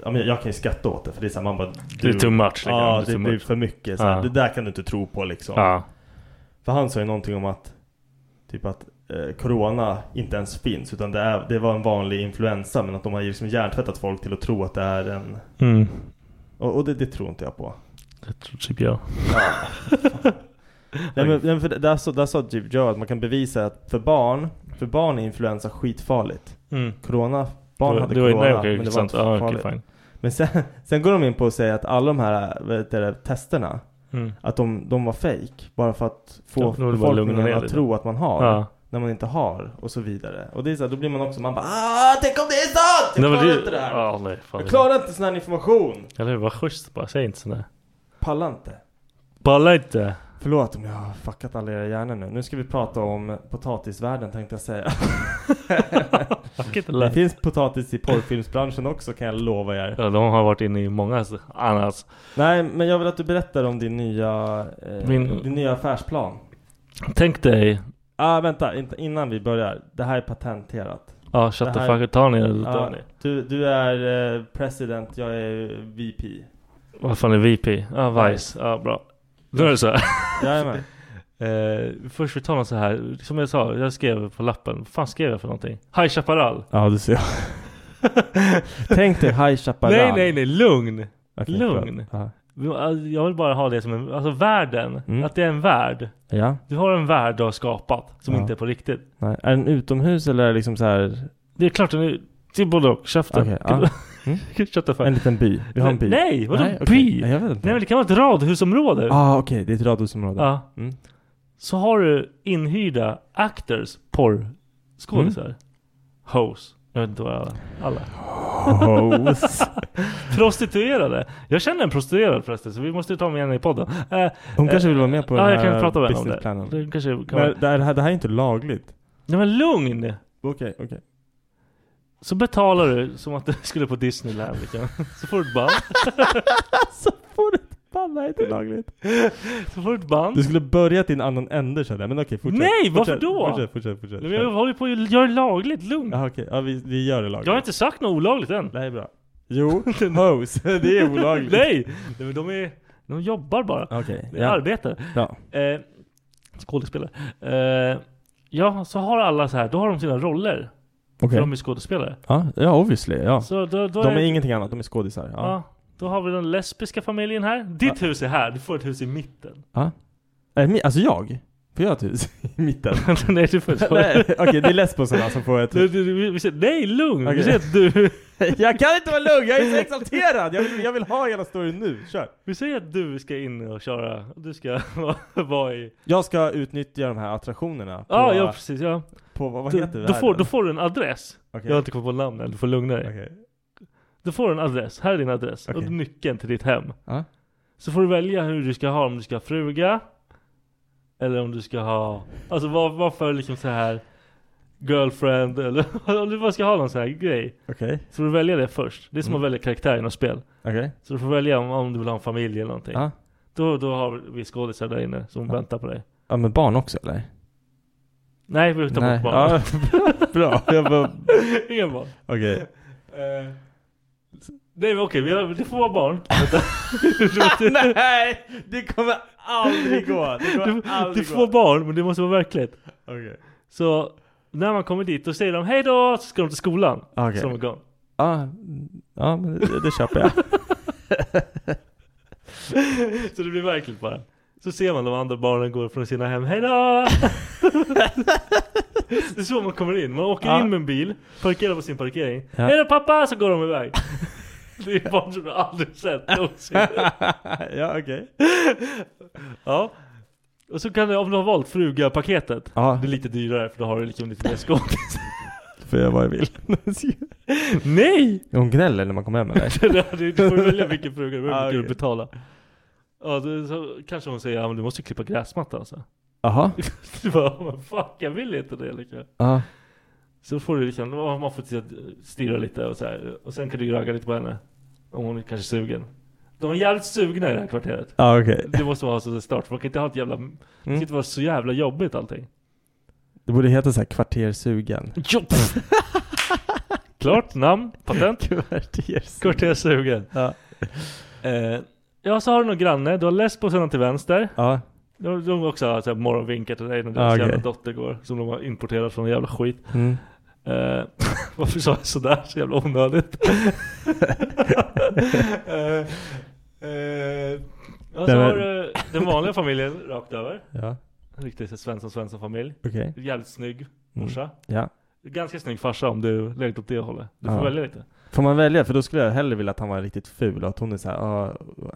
Speaker 7: Ja, men jag kan ju skratta åt det för det är såhär man bara
Speaker 3: Det är too much, liksom.
Speaker 7: Ja,
Speaker 3: Det är
Speaker 7: det,
Speaker 3: too
Speaker 7: blir
Speaker 3: much.
Speaker 7: för mycket så här,
Speaker 3: Ja.
Speaker 7: Det där kan du inte tro på liksom
Speaker 3: Ja.
Speaker 7: För han sa ju någonting om att Typ att eh, Corona inte ens finns utan det, är, det var en vanlig influensa men att de har ju liksom hjärntvättat folk till att tro att det är en
Speaker 3: Mm.
Speaker 7: Och, och det, det tror inte jag på
Speaker 3: Det tror typ jag.
Speaker 7: Nej men, nej, men för det- där, sa, där sa typ Joe att man kan bevisa att för barn, för barn är influensa skitfarligt.
Speaker 3: Mm.
Speaker 7: Corona, barn
Speaker 3: Det-
Speaker 7: hade
Speaker 3: det var ju-
Speaker 7: corona
Speaker 3: nej, okej,
Speaker 7: men det var
Speaker 3: sant.
Speaker 7: inte
Speaker 3: Ja, okej,
Speaker 7: farligt.
Speaker 3: fine.
Speaker 7: Men sen, sen går de in på att säga att alla de här vet du, det, testerna,
Speaker 3: Mm.
Speaker 7: att de, de var fake Bara för att få
Speaker 3: Ja, de vill bara lugna ner
Speaker 7: befolkningen att
Speaker 3: lite.
Speaker 7: tro att man har.
Speaker 3: Ja.
Speaker 7: När man inte har och så vidare. Och det är så här, då blir man också, man bara ah, tänk om det är sant! Jag
Speaker 3: Nej, men
Speaker 7: klarar
Speaker 3: det-
Speaker 7: inte det här!
Speaker 3: Ja, nej, fan.
Speaker 7: jag klarar inte sån här information!
Speaker 3: Eller hur? Var schysst bara. Säg inte sådär.
Speaker 7: Pallar inte.
Speaker 3: Balla inte.
Speaker 7: Förlåt om jag har fuckat alla era hjärnor nu. Nu ska vi prata om potatisvärlden tänkte jag säga.
Speaker 3: Fuck
Speaker 7: det finns potatis i porrfilmsbranschen också kan jag lova er.
Speaker 3: Ja, de har varit inne i många annars.
Speaker 7: Nej, men jag vill att du berättar om din nya, eh,
Speaker 3: Min-
Speaker 7: din nya affärsplan.
Speaker 3: Tänk dig.
Speaker 7: Ah, vänta, inte, innan vi börjar. Det här är patenterat.
Speaker 3: Ja, shut
Speaker 7: Det
Speaker 3: the
Speaker 7: här-
Speaker 3: fuck up. Ta ner det, ta
Speaker 7: Ja,
Speaker 3: ner.
Speaker 7: du, du är eh, president, jag är VP.
Speaker 3: Vad fan är VP? Ja, ah, Vice. Ja, bra. Då är det så här.
Speaker 7: Jajamän.
Speaker 3: Eh, först vi tar något så här. Som jag sa, jag skrev på lappen. Vad fan skrev jag för någonting? High Chaparral.
Speaker 7: Ja, du ser. Tänk dig High Chaparral.
Speaker 3: Nej, nej, nej. Lugn.
Speaker 7: Okej,
Speaker 3: Lugn.
Speaker 7: förlåt.
Speaker 3: Alltså, Jag vill bara ha det som en, alltså världen.
Speaker 7: Mm.
Speaker 3: Att det är en värld.
Speaker 7: Ja.
Speaker 3: Du har en värld du har skapat som
Speaker 7: Ja.
Speaker 3: inte är på riktigt.
Speaker 7: nej. Är den utomhus eller är det liksom så här?
Speaker 3: Det är klart den är, det är både och. Käften.
Speaker 7: Okej, ja. Mm.
Speaker 3: Shut the fuck.
Speaker 7: En liten by. Vi har en by.
Speaker 3: Nej, vadå
Speaker 7: Nej, okej.
Speaker 3: by?
Speaker 7: Nej, jag vet inte.
Speaker 3: Nej men Ah. det kan vara ett radhusområde.
Speaker 7: Ah, okej, det är ett radhusområde.
Speaker 3: Ja.
Speaker 7: Mm.
Speaker 3: Så har du inhyrda
Speaker 7: Mm.
Speaker 3: actors, porrskådisar. Hoes. Jag vet inte vad alla. alla.
Speaker 7: Hoes.
Speaker 3: Prostituerade. Jag känner en prostituerad förresten så vi måste ju ta med henne i podden. Eh,
Speaker 7: Hon
Speaker 3: eh,
Speaker 7: kanske vill vara med på
Speaker 3: Ja,
Speaker 7: den
Speaker 3: jag
Speaker 7: här
Speaker 3: kan prata med henne om det.
Speaker 7: businessplanen.
Speaker 3: det kanske kan vara-
Speaker 7: Men det här, det här är inte lagligt.
Speaker 3: Nej men lugn!
Speaker 7: Okej, okej.
Speaker 3: Så betalar du som att du skulle på Disneyland liksom. Så får du ett band.
Speaker 7: så får du ett band, det här är inte lagligt.
Speaker 3: Så får du ett band.
Speaker 7: Du skulle börjat i en annan ände kände jag, men okej fortsätt.
Speaker 3: Nej,
Speaker 7: fortsätt,
Speaker 3: varför då?
Speaker 7: Fortsätt, fortsätt, fortsätt.
Speaker 3: Men jag håller på att göra det lagligt, lugn.
Speaker 7: Jaha okej, ja, vi, vi gör det lagligt.
Speaker 3: Jag har inte sagt något olagligt än.
Speaker 7: Nej bra. Jo, hoes, det är olagligt.
Speaker 3: Nej! Nej men de är, de jobbar bara.
Speaker 7: Okej,
Speaker 3: De
Speaker 7: ja.
Speaker 3: arbetar.
Speaker 7: Ja.
Speaker 3: Eh, skådespelare. Eh, ja, så har alla så här, då har de sina roller.
Speaker 7: Okej.
Speaker 3: För de är skådespelare.
Speaker 7: Ja, ja obviously. Ja.
Speaker 3: Så då- då
Speaker 7: de är,
Speaker 3: är-
Speaker 7: ingenting annat, de är skådisar.
Speaker 3: Ja.
Speaker 7: Ja.
Speaker 3: Då har vi den lesbiska familjen här. Ditt hus är här, du får ett hus i mitten.
Speaker 7: Ja. Äh, mi- alltså jag? Får jag ett hus i mitten?
Speaker 3: Nej, du får inte.
Speaker 7: Nej, Okej, det är lesbosarna som får ett
Speaker 3: Du,
Speaker 7: hus.
Speaker 3: du, du, vi säger, nej lugn!
Speaker 7: Okej.
Speaker 3: Vi säger att du...
Speaker 7: jag kan inte vara lugn, jag är så exalterad! Jag vill, jag vill ha hela storyn nu, kör!
Speaker 3: Vi säger att du ska in och köra, du ska vara- vara i...
Speaker 7: Jag ska utnyttja de här attraktionerna på,
Speaker 3: Ja, ja precis ja.
Speaker 7: på vad, vad
Speaker 3: Du-
Speaker 7: heter
Speaker 3: då,
Speaker 7: världen?
Speaker 3: får, då får du en adress.
Speaker 7: Okej.
Speaker 3: Jag har inte kommit på namnet, du får lugna dig. Du får en adress, här är din adress. Och nyckeln till ditt hem.
Speaker 7: Ja.
Speaker 3: Så får du välja hur du ska ha, om du ska ha fruga. Eller om du ska ha, alltså vad, vad för liksom så här girlfriend eller om du bara ska ha någon sån här grej.
Speaker 7: Okej.
Speaker 3: Så får du välja det först. Det är som
Speaker 7: Mm.
Speaker 3: att välja karaktär i något spel.
Speaker 7: Okej.
Speaker 3: Så du får välja om, om du vill ha en familj eller någonting.
Speaker 7: Ja.
Speaker 3: Då, då har vi skådisar där inne som väntar på dig.
Speaker 7: Ja men barn också eller?
Speaker 3: Nej, vi tar
Speaker 7: Nej.
Speaker 3: bort barnen.
Speaker 7: Ja, bra. Jag bara...
Speaker 3: Inga barn.
Speaker 7: Okej.
Speaker 3: Eh, nej men okej, vi har- det får vara barn.
Speaker 7: Nej! Det kommer aldrig gå! Det kommer
Speaker 3: Du, du
Speaker 7: aldrig
Speaker 3: får
Speaker 7: gå!
Speaker 3: barn, men det måste vara verkligt.
Speaker 7: Okej.
Speaker 3: Så när man kommer dit, då säger de hej då, så ska de till skolan.
Speaker 7: Okej.
Speaker 3: Så de går.
Speaker 7: Ja, ja men det, det köper jag.
Speaker 3: Så det blir verkligt bara. Så ser man de andra barnen går från sina hem, hej då! Det är så man kommer in, man åker
Speaker 7: Ja.
Speaker 3: in med en bil, parkerar på sin parkering.
Speaker 7: Ja.
Speaker 3: Hej då pappa! Så går de iväg. Det är barn som jag aldrig sett någonsin.
Speaker 7: ja okej.
Speaker 3: Ja. Och så kan du, om du har valt fruga-paketet,
Speaker 7: Ja.
Speaker 3: det är lite dyrare för då har du liksom lite mer skådis.
Speaker 7: Får jag vad jag vill?
Speaker 3: Nej!
Speaker 7: Hon gnäller när man kommer hem eller?
Speaker 3: Ja, du du får välja vilken fråga du vill,
Speaker 7: Ah,
Speaker 3: vilken du
Speaker 7: okej.
Speaker 3: betala. Ja, det, så kanske hon säger ja, men du måste klippa gräsmattan alltså.
Speaker 7: Jaha.
Speaker 3: Du bara, men fuck jag vill inte det liksom.
Speaker 7: Ja.
Speaker 3: Så får du liksom, ja, man får titta- stirra lite och så här. Och sen kan du ragga lite på henne. Om hon är kanske sugen. De är jävligt sugna i det här kvarteret.
Speaker 7: Ja okej.
Speaker 3: Det måste vara så start, för man kan inte ha ett jävla,
Speaker 7: Mm.
Speaker 3: det kan inte vara så jävla jobbigt allting.
Speaker 7: Det borde heta så här kvartersugen.
Speaker 3: Jo. Klart namn, patent.
Speaker 7: Kvartersugen.
Speaker 3: Kvarterssugen.
Speaker 7: Ja.
Speaker 3: Eh, ja, så har du någon granne. Du har lesboserna till vänster.
Speaker 7: Ja.
Speaker 3: De, de också har så här morgonvinkar till dig när
Speaker 7: Ah,
Speaker 3: deras
Speaker 7: okej.
Speaker 3: jävla dotter går. Som de har importerat från jävla skit.
Speaker 7: Mm.
Speaker 3: Eh, varför sa jag sådär? Så jävla onödigt. eh, eh, och så
Speaker 7: Nej, men-
Speaker 3: har du den vanliga familjen rakt över.
Speaker 7: Ja.
Speaker 3: En riktig så här Svensson Svensson familj.
Speaker 7: Okej. Mm.
Speaker 3: Jävligt snygg morsa.
Speaker 7: Ja.
Speaker 3: Ganska snygg farsa om du lägger åt det hållet. Du får
Speaker 7: Ja.
Speaker 3: välja lite.
Speaker 7: Får man välja? För då skulle jag hellre vilja att han var riktigt ful och att hon är såhär, ah,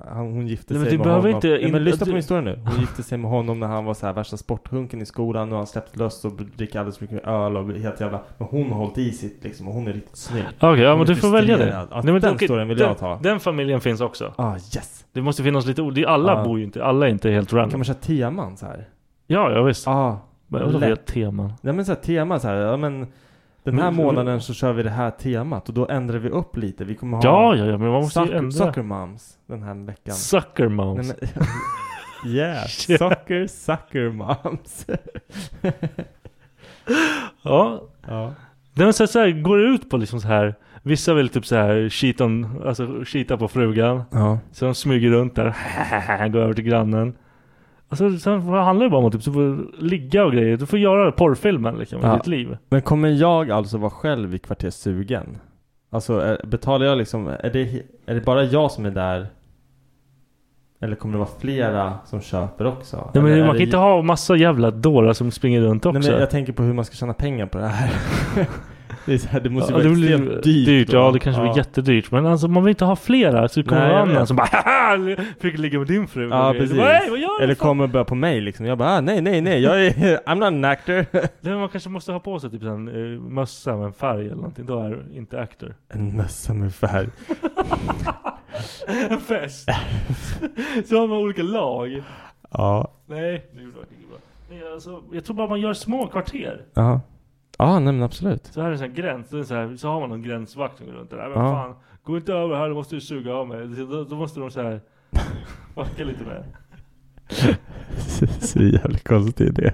Speaker 7: han, hon gifte
Speaker 3: Nej, men
Speaker 7: sig
Speaker 3: du
Speaker 7: med
Speaker 3: behöver
Speaker 7: honom.
Speaker 3: inte
Speaker 7: Nej,
Speaker 3: in-
Speaker 7: men lyssna
Speaker 3: du-
Speaker 7: på min historia nu. Hon gifte sig med honom när han var så här värsta sporthunken i skolan och han släppte lös och dricker alldeles för mycket öl och blir helt jävla... Men hon har hållit i sitt liksom och hon är riktigt snygg.
Speaker 3: Okej, ja,
Speaker 7: Hon
Speaker 3: men
Speaker 7: är
Speaker 3: du får välja det.
Speaker 7: frustrerad. Ja,
Speaker 3: Nej, men
Speaker 7: den
Speaker 3: okej,
Speaker 7: storyn vill
Speaker 3: den,
Speaker 7: jag ta.
Speaker 3: Den familjen finns också.
Speaker 7: Ah yes!
Speaker 3: Det måste finnas lite ord. Alla
Speaker 7: Ja.
Speaker 3: bor ju inte, alla är inte helt random.
Speaker 7: Kan man köra teman så här?
Speaker 3: Ja, ja visst.
Speaker 7: Ah,
Speaker 3: Men vadå
Speaker 7: lätt.
Speaker 3: vet teman?
Speaker 7: Nej men så här, tema så här, ja men den här
Speaker 3: Men-
Speaker 7: månaden så kör vi det här temat och då ändrar vi upp lite. Vi kommer ha
Speaker 3: Ja, ja, ja, men man måste ju
Speaker 7: sucker,
Speaker 3: ändra.
Speaker 7: sucker moms den här veckan.
Speaker 3: Sucker moms.
Speaker 7: Nej, men, yeah, sucker sucker moms.
Speaker 3: Ja.
Speaker 7: ja.
Speaker 3: Nej men så, så här, går det ut på liksom så här. Vissa vill typ så här cheat on, alltså cheata på frugan.
Speaker 7: Ja.
Speaker 3: Så de smyger runt där. Går över till grannen. Alltså sen handlar det bara om att typ, så får du ligga och grejer. Du får göra porrfilmen liksom
Speaker 7: Ja.
Speaker 3: i ditt liv.
Speaker 7: Men kommer jag alltså vara själv i kvarterssugen? Alltså är, betalar jag liksom, är det, är det bara jag som är där? Eller kommer det vara flera som köper också?
Speaker 3: Nej,
Speaker 7: Eller
Speaker 3: men
Speaker 7: är
Speaker 3: man
Speaker 7: det-
Speaker 3: kan inte ha massa jävla dårar som springer runt också.
Speaker 7: Nej, men jag tänker på hur man ska tjäna pengar på det här. Det, är så här, det måste
Speaker 3: Ja,
Speaker 7: ju
Speaker 3: det
Speaker 7: vara
Speaker 3: blir
Speaker 7: extremt dyrt.
Speaker 3: Ja
Speaker 7: va?
Speaker 3: det kanske blir jättedyrt. Men alltså man vill inte ha flera. Så kommer
Speaker 7: Nej,
Speaker 3: någon
Speaker 7: jag
Speaker 3: annan
Speaker 7: vet.
Speaker 3: som bara haha! Fick ligga med din fru.
Speaker 7: Ja
Speaker 3: Och grejer.
Speaker 7: precis.
Speaker 3: Du Bara, "Hej, vad gör du?"
Speaker 7: Eller kommer bara på mig liksom. Jag bara ah, nej nej nej, jag är, I'm not an actor.
Speaker 3: Nej, men man kanske måste ha på sig typ en eh, mössa med en färg eller någonting. Då är du inte actor.
Speaker 7: En mössa med färg.
Speaker 3: En fest. så har man olika lag.
Speaker 7: Ja.
Speaker 3: Nej, det gjorde jag inte bra. Nej, alltså, jag tror bara man gör små kvarter.
Speaker 7: Ja. Ja nej men absolut.
Speaker 3: Så här är en sån här gräns, det är så, här, så har man någon gränsvakt som går runt där. Nej men
Speaker 7: Ja.
Speaker 3: fan, gå inte över här, då måste du suga av mig. Så Då, då måste de så här fucka lite med.
Speaker 7: Så jävligt konstig idé.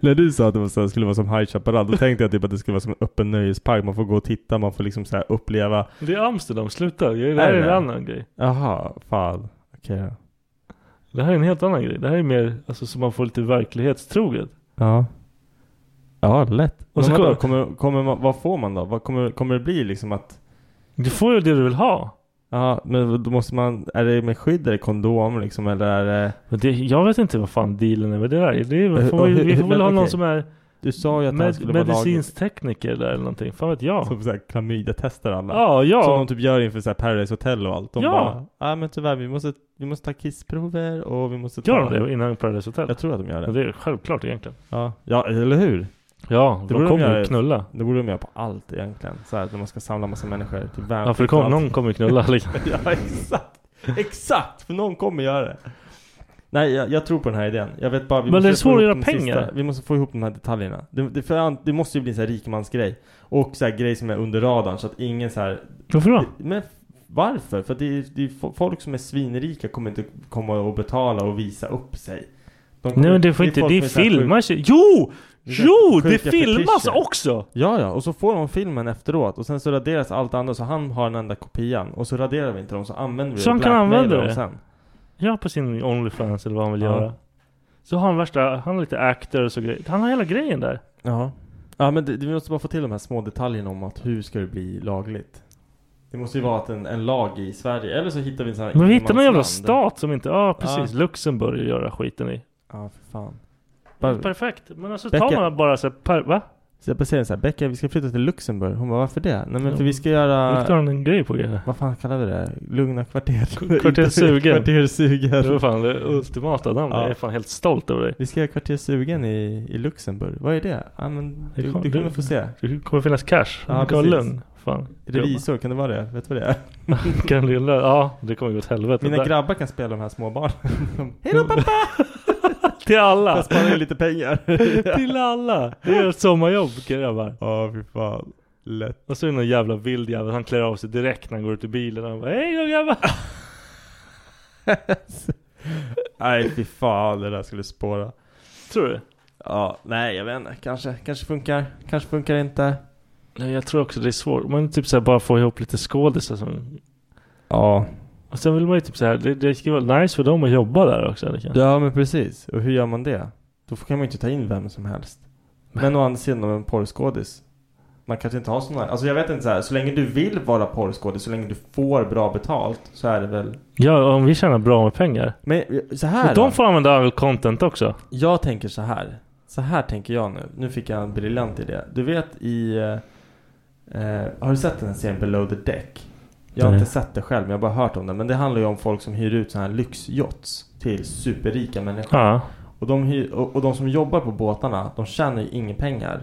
Speaker 7: När du sa att det var så här, skulle vara som High Chaparral, då tänkte jag typ att det skulle vara som en öppen nöjespark. Man får gå och titta, man får liksom så här uppleva.
Speaker 3: Det är Amsterdam, sluta. Det här är en annan grej.
Speaker 7: Jaha, fan. Okej då.
Speaker 3: Det här är en helt annan grej. Det här är mer alltså, så man får lite verklighetstroget.
Speaker 7: Ja. Ja, lätt.
Speaker 3: Och
Speaker 7: Och
Speaker 3: så
Speaker 7: så
Speaker 3: kommer-
Speaker 7: kommer, kommer, kommer man, vad får man då? Vad kommer, kommer det bli liksom att...
Speaker 3: Du får ju det du vill ha.
Speaker 7: Ja, men då måste man... Är det med skydd, är det kondom liksom eller är det...
Speaker 3: Men det, jag vet inte vad fan dealen är med det där. Det är, vi får,
Speaker 7: Och hur-
Speaker 3: vi får väl
Speaker 7: hur- men
Speaker 3: ha någon
Speaker 7: okej.
Speaker 3: som är
Speaker 7: Du sa ju att han
Speaker 3: med,
Speaker 7: skulle vara
Speaker 3: medicinsk tekniker där eller någonting. Fan vet jag.
Speaker 7: Som såhär klamydia-testar alla.
Speaker 3: Ja, ja.
Speaker 7: Som de typ gör inför såhär Paradise Hotel och allt. De
Speaker 3: Ja.
Speaker 7: ja. bara, ja men tyvärr vi måste, vi måste ta kissprover och vi måste ta...
Speaker 3: Gör de det innan Paradise Hotel?
Speaker 7: Jag tror att de gör det.
Speaker 3: Ja, det är självklart egentligen.
Speaker 7: Ja, ja eller hur?
Speaker 3: Ja, de kommer ju knulla.
Speaker 7: Det borde de göra på allt egentligen. Såhär när man ska samla massa människor. Typ
Speaker 3: Ja, för det kommer- någon kommer ju knulla liksom.
Speaker 7: ja, exakt. Exakt, för någon kommer göra det. Nej, jag, jag tror på den här idén. Jag vet bara, vi
Speaker 3: Men det är
Speaker 7: måste få
Speaker 3: svårt att
Speaker 7: ihop
Speaker 3: göra
Speaker 7: den
Speaker 3: pengar.
Speaker 7: Sista. Vi måste få ihop de här detaljerna. Det, det, för, an- det måste ju bli en sån här rikmansgrej. Och så här grej som är under radarn så att ingen så här...
Speaker 3: Varför då?
Speaker 7: Men f- varför? För att det, är- det är fo- folk som är svinrika kommer inte komma och betala och visa upp sig. De kommer-
Speaker 3: Nej men det får inte,
Speaker 7: folk
Speaker 3: det
Speaker 7: med så här sjuk-
Speaker 3: filmas ju. Jo! Jo! Det
Speaker 7: Sjuka
Speaker 3: filmas
Speaker 7: fetischer.
Speaker 3: också!
Speaker 7: Ja, ja, och så får de filmen efteråt och sen så raderas allt annat så han har den enda kopian och så raderar vi inte dem så använder vi
Speaker 3: Så
Speaker 7: och
Speaker 3: han kan
Speaker 7: blackmailar
Speaker 3: använda
Speaker 7: dem
Speaker 3: det?
Speaker 7: sen.
Speaker 3: Ja, på sin Onlyfans eller vad han vill
Speaker 7: Ja.
Speaker 3: göra. Så har han värsta, han är lite actor och så grejer. Han har hela grejen där.
Speaker 7: Ja. Ja, men det, vi måste bara få till de här små detaljerna om att hur ska det bli lagligt? Det måste ju vara att en, en lag i Sverige, eller så hittar vi en sån här
Speaker 3: Men vi hittar någon jävla
Speaker 7: ingenmansland.
Speaker 3: stat som inte, ja precis,
Speaker 7: Ja.
Speaker 3: Luxemburg gör skiten i.
Speaker 7: Ja, för fan.
Speaker 3: Perfekt, men alltså tar
Speaker 7: Becka-
Speaker 3: man bara så här, per, va?
Speaker 7: Så jag bara säger såhär, Becka vi ska flytta till Luxemburg. Hon bara, varför det? Nej men
Speaker 3: Ja.
Speaker 7: för vi ska
Speaker 3: Vi klarar
Speaker 7: göra...
Speaker 3: en grej på grejer.
Speaker 7: Vad fan kallar vi det? Lugna kvarter?
Speaker 3: Kvarter Sugen.
Speaker 7: Kvarter Sugen.
Speaker 3: Det var fan det ultimata namnet.
Speaker 7: Ja.
Speaker 3: Jag är fan helt stolt över dig.
Speaker 7: Vi ska göra Kvarter Sugen i, i Luxemburg. Vad är det? Ja, men du, du kommer få se.
Speaker 3: Det kommer finnas cash. du kommer vara
Speaker 7: precis.
Speaker 3: lugn. Fan.
Speaker 7: Revisor, kan det vara det? Vet du vad det är?
Speaker 3: Kan bli lugn. Ja, det kommer gå åt helvete.
Speaker 7: Mina
Speaker 3: Där-
Speaker 7: grabbar kan spela de här småbarnen. De, Hej då pappa!
Speaker 3: Till alla!
Speaker 7: Jag sparar ju lite pengar.
Speaker 3: Till alla! Det är ett sommarjobb grabbar.
Speaker 7: Ja, fy fan. Lätt.
Speaker 3: Och så är det någon jävla vild jävel, han klär av sig direkt när han går ut ur bilen. Han bara hej då grabbar!
Speaker 7: Nej fy fan, det där skulle spåra.
Speaker 3: Tror du?
Speaker 7: Ja, nej jag vet inte. Kanske, kanske funkar, kanske funkar inte.
Speaker 3: Nej jag tror också det är svårt. Man typ såhär bara få ihop lite skådisar som...
Speaker 7: Ja.
Speaker 3: Och sen vill man ju typ såhär, det, det ska vara nice för dem att jobba där också. Det kan.
Speaker 7: Ja men precis. Och hur gör man det? Då kan man ju inte ta in vem som helst. Men å andra sidan om en porrskådis. Man kanske inte har sådana. Alltså jag vet inte så här. Så länge du vill vara porrskådis, så länge du får bra betalt så är det väl.
Speaker 3: Ja, om vi tjänar bra med pengar.
Speaker 7: Men eh, så här
Speaker 3: Och de
Speaker 7: då.
Speaker 3: får använda all content också.
Speaker 7: Jag tänker så här. Så här tänker jag nu. Nu fick jag en briljant idé. Du vet i... eh, Eh, har du sett den här serien Below the Deck? Jag har
Speaker 3: Nej.
Speaker 7: inte sett det själv, men jag har bara hört om den. Men det handlar ju om folk som hyr ut sådana här lyxjots till superrika människor.
Speaker 3: Ja.
Speaker 7: Och, de hyr, och, och de som jobbar på båtarna, de tjänar ju inga pengar.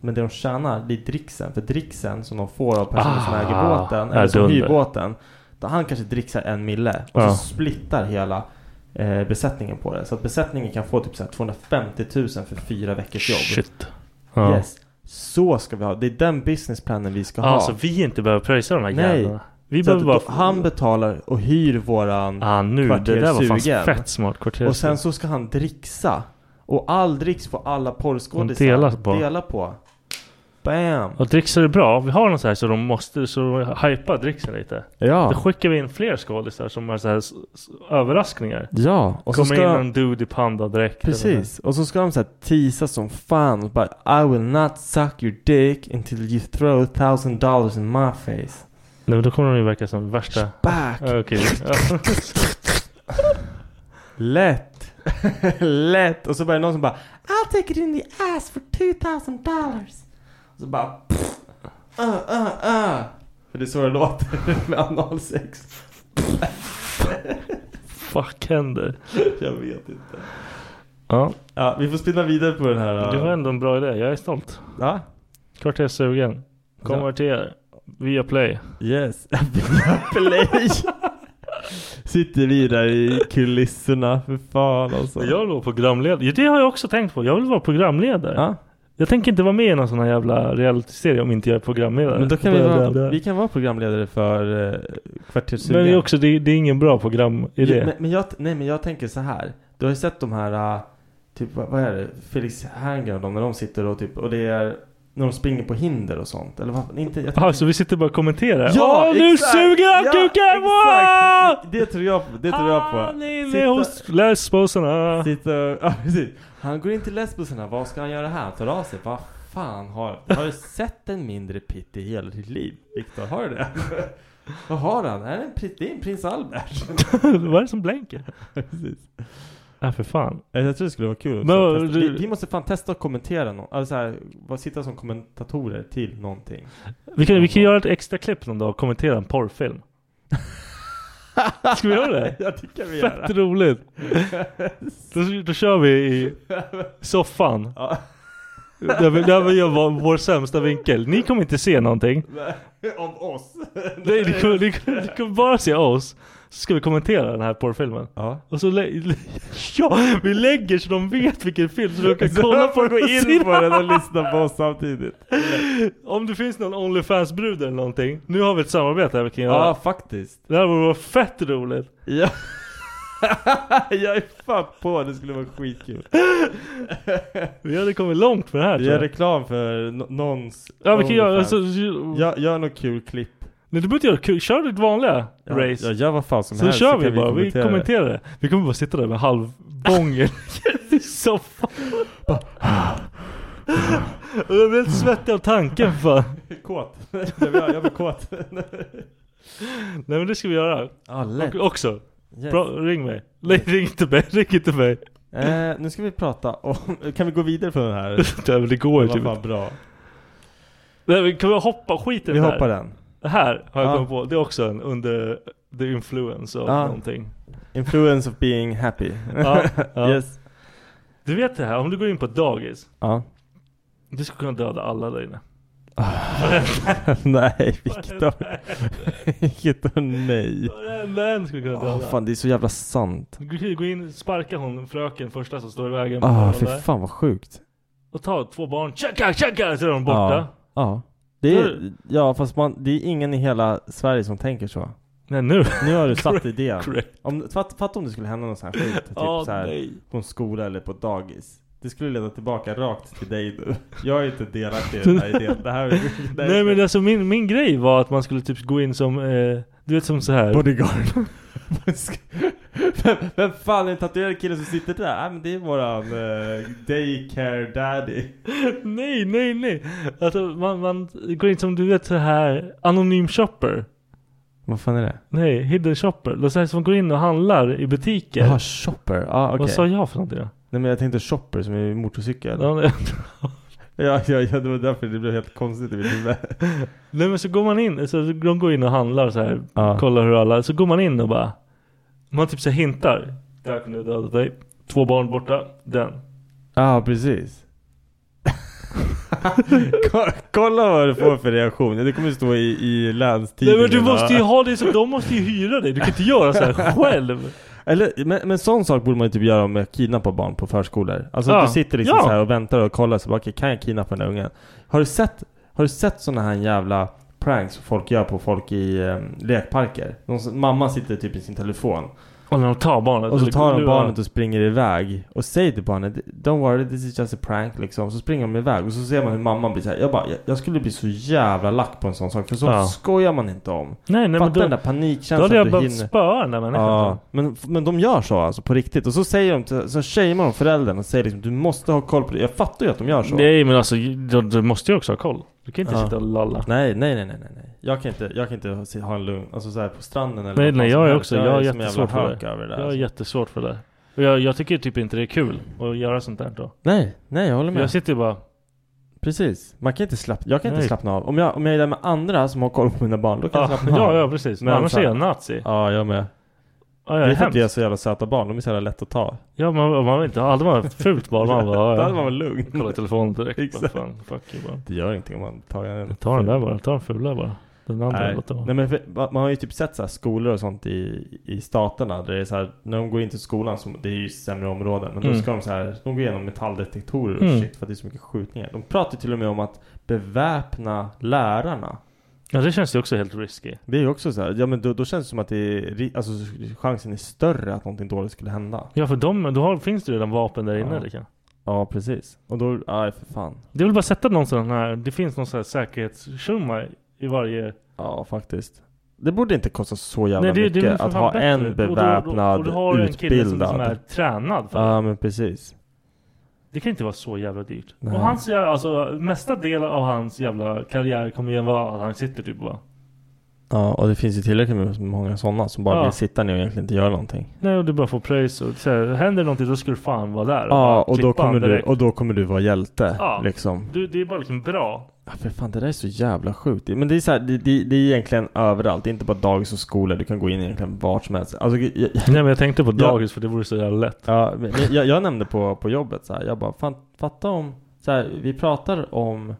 Speaker 7: Men det de tjänar, det är dricksen. För dricksen som de får av personen som
Speaker 3: Ah,
Speaker 7: äger båten,
Speaker 3: är
Speaker 7: eller som hyr
Speaker 3: dunder.
Speaker 7: båten. Då han kanske dricksar en mille och
Speaker 3: Ja.
Speaker 7: så splittar hela eh, besättningen på det. Så att besättningen kan få typ så här 250 000 för fyra veckors jobb.
Speaker 3: Shit. Ja.
Speaker 7: Yes. Så ska vi ha. Det är den businessplanen vi ska ha.
Speaker 3: Ah, så vi inte behöver pröjsa de här
Speaker 7: Nej.
Speaker 3: jävlarna. Vi
Speaker 7: så
Speaker 3: behöver bara...
Speaker 7: att då, han betalar och hyr våran
Speaker 3: Ah nu, det där var fan
Speaker 7: kvartersugen.
Speaker 3: fett smart kvarter.
Speaker 7: Och sen så ska han dricksa. Och all dricks får alla porrskådisar
Speaker 3: De delar på.
Speaker 7: dela på. Bam!
Speaker 3: Och dricksar är bra. Vi har någon så här så de måste, så de hypar dricksen lite. Då
Speaker 7: Ja.
Speaker 3: skickar vi in fler skådisar som är så här s- s- överraskningar.
Speaker 7: Ja. Och så
Speaker 3: Kommer in
Speaker 7: ska
Speaker 3: en dude i pandadräkt. eller
Speaker 7: Precis. Och så ska de så här teasa som fan. Och bara I will not suck your dick until you throw thousand dollars in my face.
Speaker 3: något. Nej men då kommer de ju verka som värsta...
Speaker 7: Back!
Speaker 3: Ja, Okej. Ja.
Speaker 7: Lätt! Lätt! Och så var det någon som bara I'll take it in the ass for 2000 dollars. Och så bara pff, Ah, ah, ah. För det är så det låter med analsex.
Speaker 3: Fuck händer?
Speaker 7: Jag vet inte.
Speaker 3: Ja.
Speaker 7: Ja, vi får spinna vidare på den här.
Speaker 3: Det var ändå en bra idé, jag är stolt.
Speaker 7: Ja.
Speaker 3: Klart jag är sugen. Konverter. Via play.
Speaker 7: Yes. Play. Sitter vi där i kulisserna, för fan alltså.
Speaker 3: Jag vill vara programledare. Ja, Det har jag också tänkt på. Jag vill vara programledare. Jag tänker inte vara med i någon sån här jävla realityserie om inte jag är programledare.
Speaker 7: Men då kan vi
Speaker 3: Bla, bla,
Speaker 7: vara,
Speaker 3: bla.
Speaker 7: vi kan vara programledare för eh, Kvarterssugen.
Speaker 3: Men det är också, det är, det är ingen bra programidé.
Speaker 7: Jo, men, men jag, nej men jag tänker så här. Du har ju sett de här, ah, typ vad, vad är det? Felix Herngren och de när de sitter och typ, och det är när de springer på hinder och sånt. Eller vad? Inte, jag
Speaker 3: Jaha, så vi sitter bara och kommenterar?
Speaker 7: Ja,
Speaker 3: Åh, Alltså, nu
Speaker 7: exakt!
Speaker 3: suger han
Speaker 7: Ja,
Speaker 3: kuken!
Speaker 7: exakt! Det tror jag på, det tror jag på.
Speaker 3: nej,
Speaker 7: Sitta-
Speaker 3: hos lesbosarna.
Speaker 7: Sitta, ja, precis. Han går in till lesbosarna, vad ska han göra här? Han tar av sig, vad fan har, har du sett en mindre pitt i hela ditt liv? Viktor, har du det? vad har han? Är det en pitt? Det är en prins Albert.
Speaker 3: Vad är det som blänker?
Speaker 7: precis.
Speaker 3: Ja, för fan.
Speaker 7: Jag tror det skulle vara kul också.
Speaker 3: Men,
Speaker 7: att testa.
Speaker 3: du-
Speaker 7: vi, vi måste fan testa att kommentera något. Alltså så här, vad- sitta som kommentatorer till någonting.
Speaker 3: Vi kan, vi kan göra ett extra klipp någon dag och kommentera en porrfilm. Ska vi göra det?
Speaker 7: Jag tycker vi
Speaker 3: Fett roligt. Då, då kör vi i soffan.
Speaker 7: Ja.
Speaker 3: Där vi, där vi gör vår, vår sämsta vinkel. Ni kommer inte se någonting.
Speaker 7: Om oss.
Speaker 3: Nej, ni kommer, ni, kommer, ni kommer bara se oss. Så ska vi kommentera den här porrfilmen.
Speaker 7: Ja.
Speaker 3: Och så lä- lä- ja, vi lägger så de vet vilken film så de kan kolla på den
Speaker 7: gå
Speaker 3: och
Speaker 7: in
Speaker 3: se
Speaker 7: på den och lyssna på oss samtidigt.
Speaker 3: Om det finns någon Onlyfans-brud eller någonting. Nu har vi ett samarbete här vi kan göra.
Speaker 7: Ja, faktiskt.
Speaker 3: Det här vore fett roligt.
Speaker 7: Ja. jag är fan på, det skulle vara skitkul.
Speaker 3: Vi hade kommit långt med det här tror
Speaker 7: Gör
Speaker 3: jag.
Speaker 7: reklam för no- någons
Speaker 3: Ja vi kan göra,
Speaker 7: OnlyFans.
Speaker 3: alltså,
Speaker 7: Gör, gör något kul klipp.
Speaker 3: nej, du behöver inte göra kul, kör ditt vanliga
Speaker 7: Ja,
Speaker 3: race.
Speaker 7: ja, gör vad fan som
Speaker 3: så
Speaker 7: helst,
Speaker 3: kör
Speaker 7: så
Speaker 3: vi
Speaker 7: kan vi
Speaker 3: bara, vi
Speaker 7: kommentera det.
Speaker 3: kommenterar det. Vi kommer bara sitta där med halvbången i soffan. Och jag blir helt svettig av tanken för fan.
Speaker 7: Kåt. jag, blir, jag blir kåt.
Speaker 3: Nej men det ska vi göra.
Speaker 7: Ja, lätt.
Speaker 3: Och, också.
Speaker 7: Yes.
Speaker 3: Bra, ring mig. Nej ring inte mig, ring inte mig.
Speaker 7: eh, nu ska vi prata om, kan vi gå vidare från den här?
Speaker 3: Nej men det går ju
Speaker 7: Vad
Speaker 3: typ
Speaker 7: fan bra.
Speaker 3: Nej, men Kan vi hoppa skit i
Speaker 7: Vi
Speaker 3: det här?
Speaker 7: hoppar den.
Speaker 3: Det här har jag
Speaker 7: Ja.
Speaker 3: kommit på, det är också en under the influence av
Speaker 7: Ja.
Speaker 3: någonting.
Speaker 7: Influence of being happy.
Speaker 3: Ja, ja.
Speaker 7: Yes.
Speaker 3: Du vet det här, om du går in på ett dagis
Speaker 7: Ja.
Speaker 3: Du skulle kunna döda alla där inne
Speaker 7: Ah, nej, Viktor. Viktor, nej.
Speaker 3: Varenda en skulle kunna döda
Speaker 7: Åh fan, det är så jävla sant.
Speaker 3: Du kan ju gå in, sparka hon fröken första som står i vägen på
Speaker 7: Ah,
Speaker 3: morgonen
Speaker 7: fy
Speaker 3: där.
Speaker 7: fan vad sjukt.
Speaker 3: Och ta två barn, tjacka tjacka! Så är de borta
Speaker 7: Ja. ja. Det är,
Speaker 3: Hur?
Speaker 7: ja fast man, det är ingen i hela Sverige som tänker så.
Speaker 3: Nej nu
Speaker 7: Nu har du satt idén.
Speaker 3: Correct.
Speaker 7: Om, fatt, fatta om det skulle hända något sånt här skit. Typ
Speaker 3: Ah,
Speaker 7: så här,
Speaker 3: nej.
Speaker 7: på en skola eller på ett dagis. Det skulle leda tillbaka rakt till dig nu. Jag är inte delaktig i den här idén. Det här, det här
Speaker 3: Nej men alltså min, min grej var att man skulle typ gå in som, eh, du vet som så här.
Speaker 7: Bodyguard. vem, vem fan är den tatuerade killen som sitter där? Nej men det är våran eh, daycare daddy.
Speaker 3: Nej nej nej! Alltså man, man går in som du vet så här anonym shopper
Speaker 7: Vad fan är det?
Speaker 3: Nej, hidden shopper. Det är så här som går in och handlar i butiker.
Speaker 7: Jaha, shopper. Ja ah, okej.
Speaker 3: Vad sa jag för någonting då?
Speaker 7: Nej men jag tänkte shopper som är motorcykel.
Speaker 3: Ja, nej.
Speaker 7: Ja, ja, ja, det var därför det blev helt konstigt i mitt huvud.
Speaker 3: Nej men så går man in, så de går in och handlar så här,
Speaker 7: Ja.
Speaker 3: kollar hur alla, så går man in och bara Man typ så här hintar Där kunde jag döda dig Två barn borta, den
Speaker 7: Ja, precis. Ko- Kolla vad du får för reaktion. Det kommer stå i, i
Speaker 3: Nej
Speaker 7: länstidningen.
Speaker 3: men du måste ju
Speaker 7: va?
Speaker 3: ha det så, de måste ju hyra dig, du kan inte göra så här själv
Speaker 7: Eller, men, men sån sak borde man ju typ göra med att kidnappa barn på förskolor. Alltså
Speaker 3: Ja.
Speaker 7: att du sitter liksom
Speaker 3: Ja.
Speaker 7: så här och väntar och kollar så bara, okej, kan jag kidnappa den där ungen? Har du sett, har du sett såna här jävla pranks folk gör på folk i um, lekparker? De, som- mamma sitter typ i sin telefon
Speaker 3: Och när de tar barnet
Speaker 7: Och så tar de
Speaker 3: lurar-
Speaker 7: barnet och springer iväg och säger till barnet Don't worry this is just a prank liksom Så springer de iväg och så ser man hur mamman blir såhär Jag bara, jag, jag skulle bli så jävla lack på en sån sak För så
Speaker 3: Ja.
Speaker 7: skojar man inte om
Speaker 3: Nej nej men
Speaker 7: Fatta
Speaker 3: då,
Speaker 7: den där
Speaker 3: då
Speaker 7: panikkänslan
Speaker 3: hade
Speaker 7: du
Speaker 3: jag behövt
Speaker 7: hinner-
Speaker 3: spöa den där människan
Speaker 7: Ja, men, men de gör så alltså på riktigt Och så säger de, till- så shamear de föräldern och säger liksom Du måste ha koll på det, jag fattar ju att de gör så
Speaker 3: Nej men alltså, du, du måste ju också ha koll Du kan inte
Speaker 7: Ja.
Speaker 3: sitta och lalla
Speaker 7: Nej, nej, nej, nej, nej, nej. Jag kan inte, jag kan inte ha- se- ha en lugn, alltså såhär på stranden eller
Speaker 3: Nej
Speaker 7: vad fan
Speaker 3: nej
Speaker 7: som
Speaker 3: jag är
Speaker 7: helst.
Speaker 3: också, jag har
Speaker 7: är som en jävla
Speaker 3: jättesvårt för
Speaker 7: hök
Speaker 3: det
Speaker 7: över det där,
Speaker 3: Jag har
Speaker 7: alltså.
Speaker 3: jättesvårt för det och jag, jag tycker typ inte det är kul att göra sånt där då
Speaker 7: Nej, nej jag håller med
Speaker 3: Jag sitter ju bara
Speaker 7: Precis. Man kan inte slappna, jag kan inte
Speaker 3: Nej.
Speaker 7: slappna av. Om jag, om jag är där med andra som har koll på mina barn, då kan
Speaker 3: Ja,
Speaker 7: jag slappna av.
Speaker 3: "Ah, ja, ja, precis. Men annars
Speaker 7: så här-
Speaker 3: är jag nazi.
Speaker 7: Ja, jag med.
Speaker 3: Ja, jag
Speaker 7: det
Speaker 3: är
Speaker 7: är för att
Speaker 3: hemskt.
Speaker 7: jag är så jävla söta barn, de är så jävla lätt att ta.
Speaker 3: Ja, man, man inte, hade man ett fult barn, man bara, ja,
Speaker 7: Då
Speaker 3: ja.
Speaker 7: hade man väl lugn.
Speaker 3: Kolla i telefonen direkt.
Speaker 7: Exakt.
Speaker 3: Vad fan, fuck you, man.
Speaker 7: Det gör ingenting om man tar en.
Speaker 3: Ta den där bara, ta den fula bara. Den andra
Speaker 7: Nej.
Speaker 3: låt det vara.
Speaker 7: Nej men för, va- man har ju typ sett så här skolor och sånt i, i staterna där det är så här, när de går in till skolan, så, det är ju sämre områden, men
Speaker 3: Mm.
Speaker 7: då ska de så här, de går igenom metalldetektorer och
Speaker 3: Mm.
Speaker 7: shit för att det är så mycket skjutningar. De pratar ju till och med om att beväpna lärarna.
Speaker 3: Ja, det känns ju också helt risky.
Speaker 7: Det är ju också så här, ja men då, då känns det som att det är, ri- alltså chansen är större att någonting dåligt skulle hända.
Speaker 3: Ja, för de, då har, finns det redan vapen där inne.
Speaker 7: Ja.
Speaker 3: liksom.
Speaker 7: Ja precis. Och då, aj för fan.
Speaker 3: Det vill bara sätta någon sån här, det finns någon sån här säkerhetstjumma i varje...
Speaker 7: Ja faktiskt. Det borde inte kosta så jävla
Speaker 3: Nej, det- det är
Speaker 7: mycket
Speaker 3: väl för
Speaker 7: att
Speaker 3: fan
Speaker 7: ha
Speaker 3: bättre. Och då- och
Speaker 7: en
Speaker 3: då-
Speaker 7: beväpnad,
Speaker 3: och då har du en kille som
Speaker 7: utbildad.
Speaker 3: liksom är tränad för
Speaker 7: Ja men precis.
Speaker 3: Det kan inte vara så jävla dyrt.
Speaker 7: Nej.
Speaker 3: Och hans, jävla- alltså, mesta del av hans jävla karriär kommer ju vara att han sitter typ bara...
Speaker 7: Ja och det finns ju tillräckligt med många sådana som bara
Speaker 3: Ja.
Speaker 7: vill sitta ner och egentligen inte göra någonting.
Speaker 3: Nej, och du bara får pröjs och så här, händer någonting då ska du fan vara där.
Speaker 7: Ja
Speaker 3: bara
Speaker 7: och då,
Speaker 3: klippa han
Speaker 7: kommer du,
Speaker 3: direkt.
Speaker 7: och då kommer du vara hjälte
Speaker 3: Ja.
Speaker 7: liksom.
Speaker 3: Du, det är bara liksom bra.
Speaker 7: Ja, för fan, det där är så jävla sjukt. Men det är, så här, det, det, det är egentligen överallt. Det är inte bara dagis och skolor. Du kan gå in egentligen vart som helst. Alltså, jag,
Speaker 3: Nej men jag tänkte på
Speaker 7: Ja.
Speaker 3: dagis för det vore så jävla lätt.
Speaker 7: Ja, men men jag, jag nämnde på, på jobbet så här, jag bara fan, fatta om, så här, vi pratar om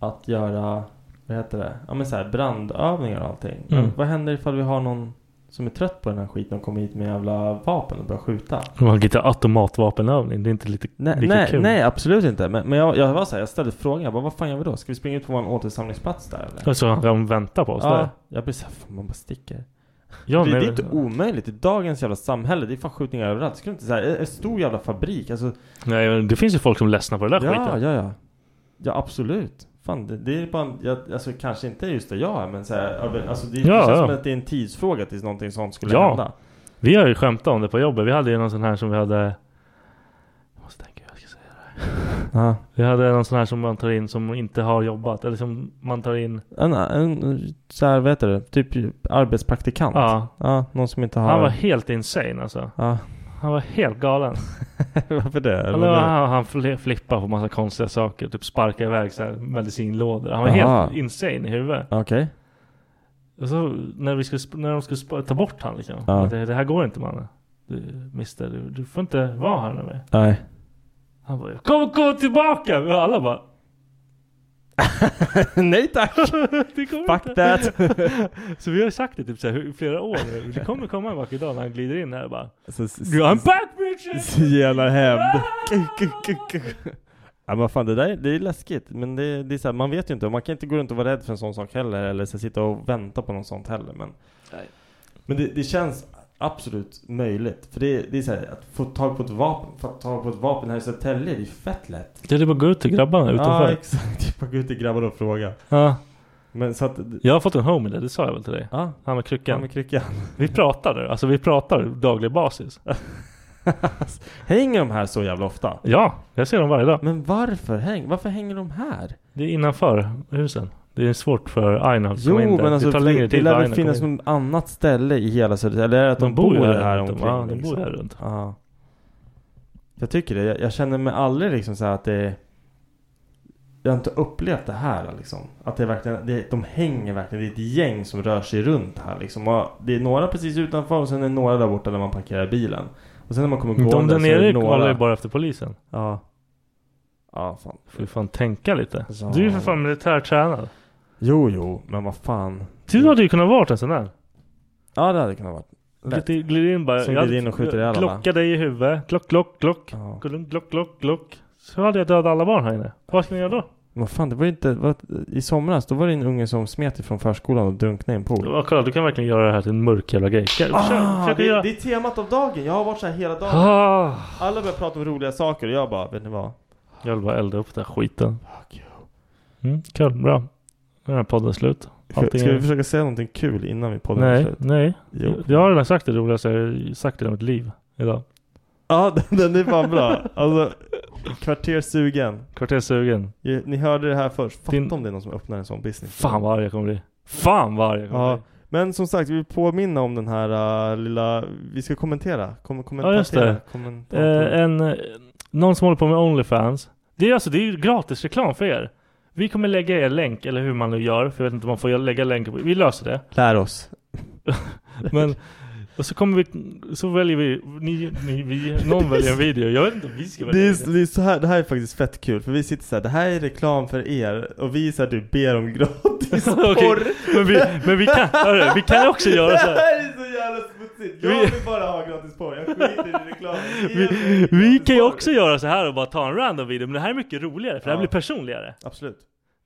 Speaker 7: att göra, vad heter det, ja men så här, brandövningar och allting. Men
Speaker 3: Mm.
Speaker 7: vad händer ifall vi har någon som är trött på den här skiten och kommer hit med jävla vapen och börjar skjuta?
Speaker 3: Man lite automatvapenövning, det är inte lite,
Speaker 7: Nej,
Speaker 3: lika
Speaker 7: nej,
Speaker 3: kul.
Speaker 7: nej absolut inte. Men, men jag, jag var så här, jag ställde frågan, jag bara, vad fan gör vi då? Ska vi springa ut på vår återsamlingsplats där eller?
Speaker 3: Alltså han kan vänta på oss där.
Speaker 7: Ja, jag blir såhär, man bara sticker.
Speaker 3: Ja,
Speaker 7: det,
Speaker 3: men-
Speaker 7: det är inte omöjligt i dagens jävla samhälle. Det är fan skjutningar överallt. Skulle inte säga, en stor jävla fabrik. Alltså,
Speaker 3: Nej men det finns ju folk som ledsnar på den där
Speaker 7: ja,
Speaker 3: skiten.
Speaker 7: Ja, ja, ja. absolut. Fan, det, det är bara, en- jag, alltså kanske inte just det jag är, men så här, över- alltså det, det
Speaker 3: Ja,
Speaker 7: känns
Speaker 3: ja.
Speaker 7: som att det är en tidsfråga tills någonting sånt skulle
Speaker 3: Ja.
Speaker 7: hända.
Speaker 3: Vi har ju skämtat om det på jobbet. Vi hade ju någon sån här som vi hade...
Speaker 7: Ja.
Speaker 3: Vi hade någon sån här som man tar in som inte har jobbat. Eller som man tar in...
Speaker 7: En, en så här, vad heter det? Typ arbetspraktikant.
Speaker 3: Ja.
Speaker 7: någon som inte har...
Speaker 3: Han var helt insane alltså.
Speaker 7: Ja.
Speaker 3: Han var helt galen.
Speaker 7: Varför det?
Speaker 3: Han,
Speaker 7: Eller-
Speaker 3: han, han fli- flippade på massa konstiga saker. Typ sparkade iväg så här medicinlådor. Han var
Speaker 7: Aha.
Speaker 3: helt insane i huvudet.
Speaker 7: Okej.
Speaker 3: Och så när, vi skulle, sp- när de skulle sp- ta bort han liksom.
Speaker 7: Ja.
Speaker 3: Att Det, det här går inte mannen. Du, mister, du, du får inte vara här nu mer.
Speaker 7: Nej.
Speaker 3: Han bara Kom, kom tillbaka! Vi alla bara
Speaker 7: Nej tack!
Speaker 3: det kommer
Speaker 7: Fuck that.
Speaker 3: så vi har sagt det typ så här, hur- i flera år nu. Det kommer komma en vacker dag när han glider in här och bara
Speaker 7: Så- s-
Speaker 3: I'm back bitches!
Speaker 7: Så jävla hämnd. Ja men fan det där är- det är läskigt. Men det, det är så här, man vet ju inte. och Man kan inte gå runt och vara rädd för en sån sak heller. Eller så sitta och vänta på något sånt heller. Men, men det, det känns absolut möjligt. För det, det är så här, att få tag på ett vapen, få tag på ett vapen här i Södertälje, det är ju fett lätt.
Speaker 3: Det är typ bara att gå ut till grabbarna
Speaker 7: Ja
Speaker 3: utanför.
Speaker 7: exakt. Det är bara att gå ut till grabbarna och fråga.
Speaker 3: Ja.
Speaker 7: Men så att...
Speaker 3: Jag har fått en homie där, det sa jag väl till dig?
Speaker 7: Ja.
Speaker 3: Han med kryckan.
Speaker 7: Han med kryckan.
Speaker 3: Vi pratar nu, alltså vi pratar daglig basis.
Speaker 7: Hänger de här så jävla ofta?
Speaker 3: Ja, jag ser dem varje dag.
Speaker 7: Men varför, häng, varför hänger de här?
Speaker 3: Det är innanför husen. Det är svårt för Aina att
Speaker 7: Jo
Speaker 3: komma in där.
Speaker 7: men alltså
Speaker 3: det tar längre tid
Speaker 7: det
Speaker 3: för
Speaker 7: lär
Speaker 3: Aina
Speaker 7: väl
Speaker 3: att komma
Speaker 7: finnas
Speaker 3: in.
Speaker 7: något annat ställe i hela Södertälje? Eller är det att de,
Speaker 3: De bor ju här liksom.
Speaker 7: här
Speaker 3: runt om.
Speaker 7: omkring?
Speaker 3: Ja,
Speaker 7: liksom.
Speaker 3: de bor här runt.
Speaker 7: Ja. Jag tycker det. Jag, jag känner mig aldrig liksom så här att det är- Jag har inte upplevt det här liksom. Att det är verkligen, det, de hänger verkligen. Det är ett gäng som rör sig runt här liksom. Och det är några precis utanför och sen är det några där borta där man parkerar bilen. Och sen när man kommer gå
Speaker 3: De där
Speaker 7: så är
Speaker 3: nere
Speaker 7: det
Speaker 3: kollar ju
Speaker 7: några...
Speaker 3: bara efter polisen.
Speaker 7: Ja. Ja fan.
Speaker 3: Får ju fan tänka lite.
Speaker 7: Ja.
Speaker 3: Du är ju för fan militärtränad.
Speaker 7: Jo jo, men vad fan.
Speaker 3: Du hade ju kunnat varit en sån där.
Speaker 7: Ja det hade kunnat vara. Lätt.
Speaker 3: Glider glider in bara.
Speaker 7: Som
Speaker 3: jag-
Speaker 7: glider in och skjuter ihjäl alla.
Speaker 3: Klocka dig i huvudet. Klock, klock, klock. Kulung, Klock, klock, klock. Så hade jag dödat alla barn här inne. Vad ska ni göra då?
Speaker 7: Vad fan, det var ju inte... Var, I somras, då var det en unge som smet ifrån förskolan och drunknade i en pool.
Speaker 3: Ja, kolla, du kan verkligen göra det här till en mörk jävla grej. Försök,
Speaker 7: Ah,
Speaker 3: försök att
Speaker 7: det,
Speaker 3: göra...
Speaker 7: det är temat av dagen. Jag har varit så här hela dagen.
Speaker 3: Ah.
Speaker 7: Alla börjar prata om roliga saker och jag bara, vet ni vad?
Speaker 3: Jag vill bara elda upp den här skiten. Mm, kul, bra. Nu är den här podden slut.
Speaker 7: Ska,
Speaker 3: Allting
Speaker 7: ska
Speaker 3: är-
Speaker 7: vi försöka säga någonting kul innan vi podden är
Speaker 3: Nej,
Speaker 7: slut?
Speaker 3: nej.
Speaker 7: Jo.
Speaker 3: Jag har redan sagt det roligaste jag har sagt i hela mitt liv idag.
Speaker 7: Ja, den, den är fan bra. Alltså, kvartersugen.
Speaker 3: Kvarterssugen.
Speaker 7: Ni ni hörde det här först. Fatta om det är någon som öppnar en sån business.
Speaker 3: Fan vad arg jag kommer bli. Fan vad arg jag kommer
Speaker 7: Ja,
Speaker 3: bli.
Speaker 7: men som sagt, vi vill påminna om den här äh, lilla... Vi ska kommentera. Kom, kommentera.
Speaker 3: Ja just det.
Speaker 7: Kommentera.
Speaker 3: Eh, en, eh, någon som håller på med Onlyfans. Det är alltså det är ju gratis reklam för er. Vi kommer lägga er länk, eller hur man nu gör, för jag vet inte om man får lägga länk. Vi löser det.
Speaker 7: Lär oss.
Speaker 3: Men, och så kommer vi, så väljer vi, ni, ni, vi, någon väljer en video. Jag vet inte om vi ska välja
Speaker 7: Det,
Speaker 3: en
Speaker 7: är, det, är så här, det här är faktiskt fett kul, för vi sitter så här, det här är reklam för er, och vi så här, du ber om gratis
Speaker 3: Okej,
Speaker 7: porr.
Speaker 3: men vi- men vi kan- hörru, vi kan också göra så här.
Speaker 7: Det här är så jävla smutsigt. Jag
Speaker 3: Vi-
Speaker 7: vill bara ha gratis porr, jag skiter i reklamen.
Speaker 3: Vi, vi kan ju också göra så här och bara ta en random video, men det här är mycket roligare för det här
Speaker 7: Ja.
Speaker 3: blir personligare.
Speaker 7: Absolut.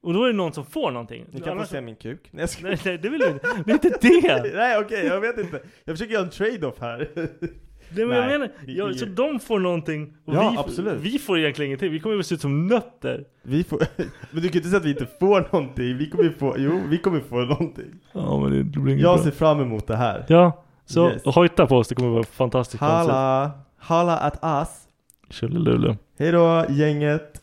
Speaker 3: Och då är det någon som får någonting.
Speaker 7: Ni kan få se min kuk. Nej, jag skojar.
Speaker 3: Nej, nej, det vill vi inte. Det är inte det!
Speaker 7: Nej okej, jag vet inte. Jag försöker göra en trade-off här.
Speaker 3: Nej, men jag
Speaker 7: Nej,
Speaker 3: menar,
Speaker 7: det
Speaker 3: ja,
Speaker 7: är-
Speaker 3: så de får någonting och
Speaker 7: Ja,
Speaker 3: vi,
Speaker 7: absolut.
Speaker 3: vi får egentligen ingenting. Vi kommer ju se ut som nötter.
Speaker 7: Vi får, men du kan ju inte säga att vi inte får någonting. Vi kommer ju få, jo, vi kommer få någonting.
Speaker 3: Ja, men det blir inget
Speaker 7: jag
Speaker 3: bra.
Speaker 7: ser fram emot det här.
Speaker 3: Ja, så
Speaker 7: Yes.
Speaker 3: hojta på oss, det kommer vara fantastiskt
Speaker 7: Halla! Halla at us!
Speaker 3: Tjolilulu.
Speaker 7: Hejdå gänget!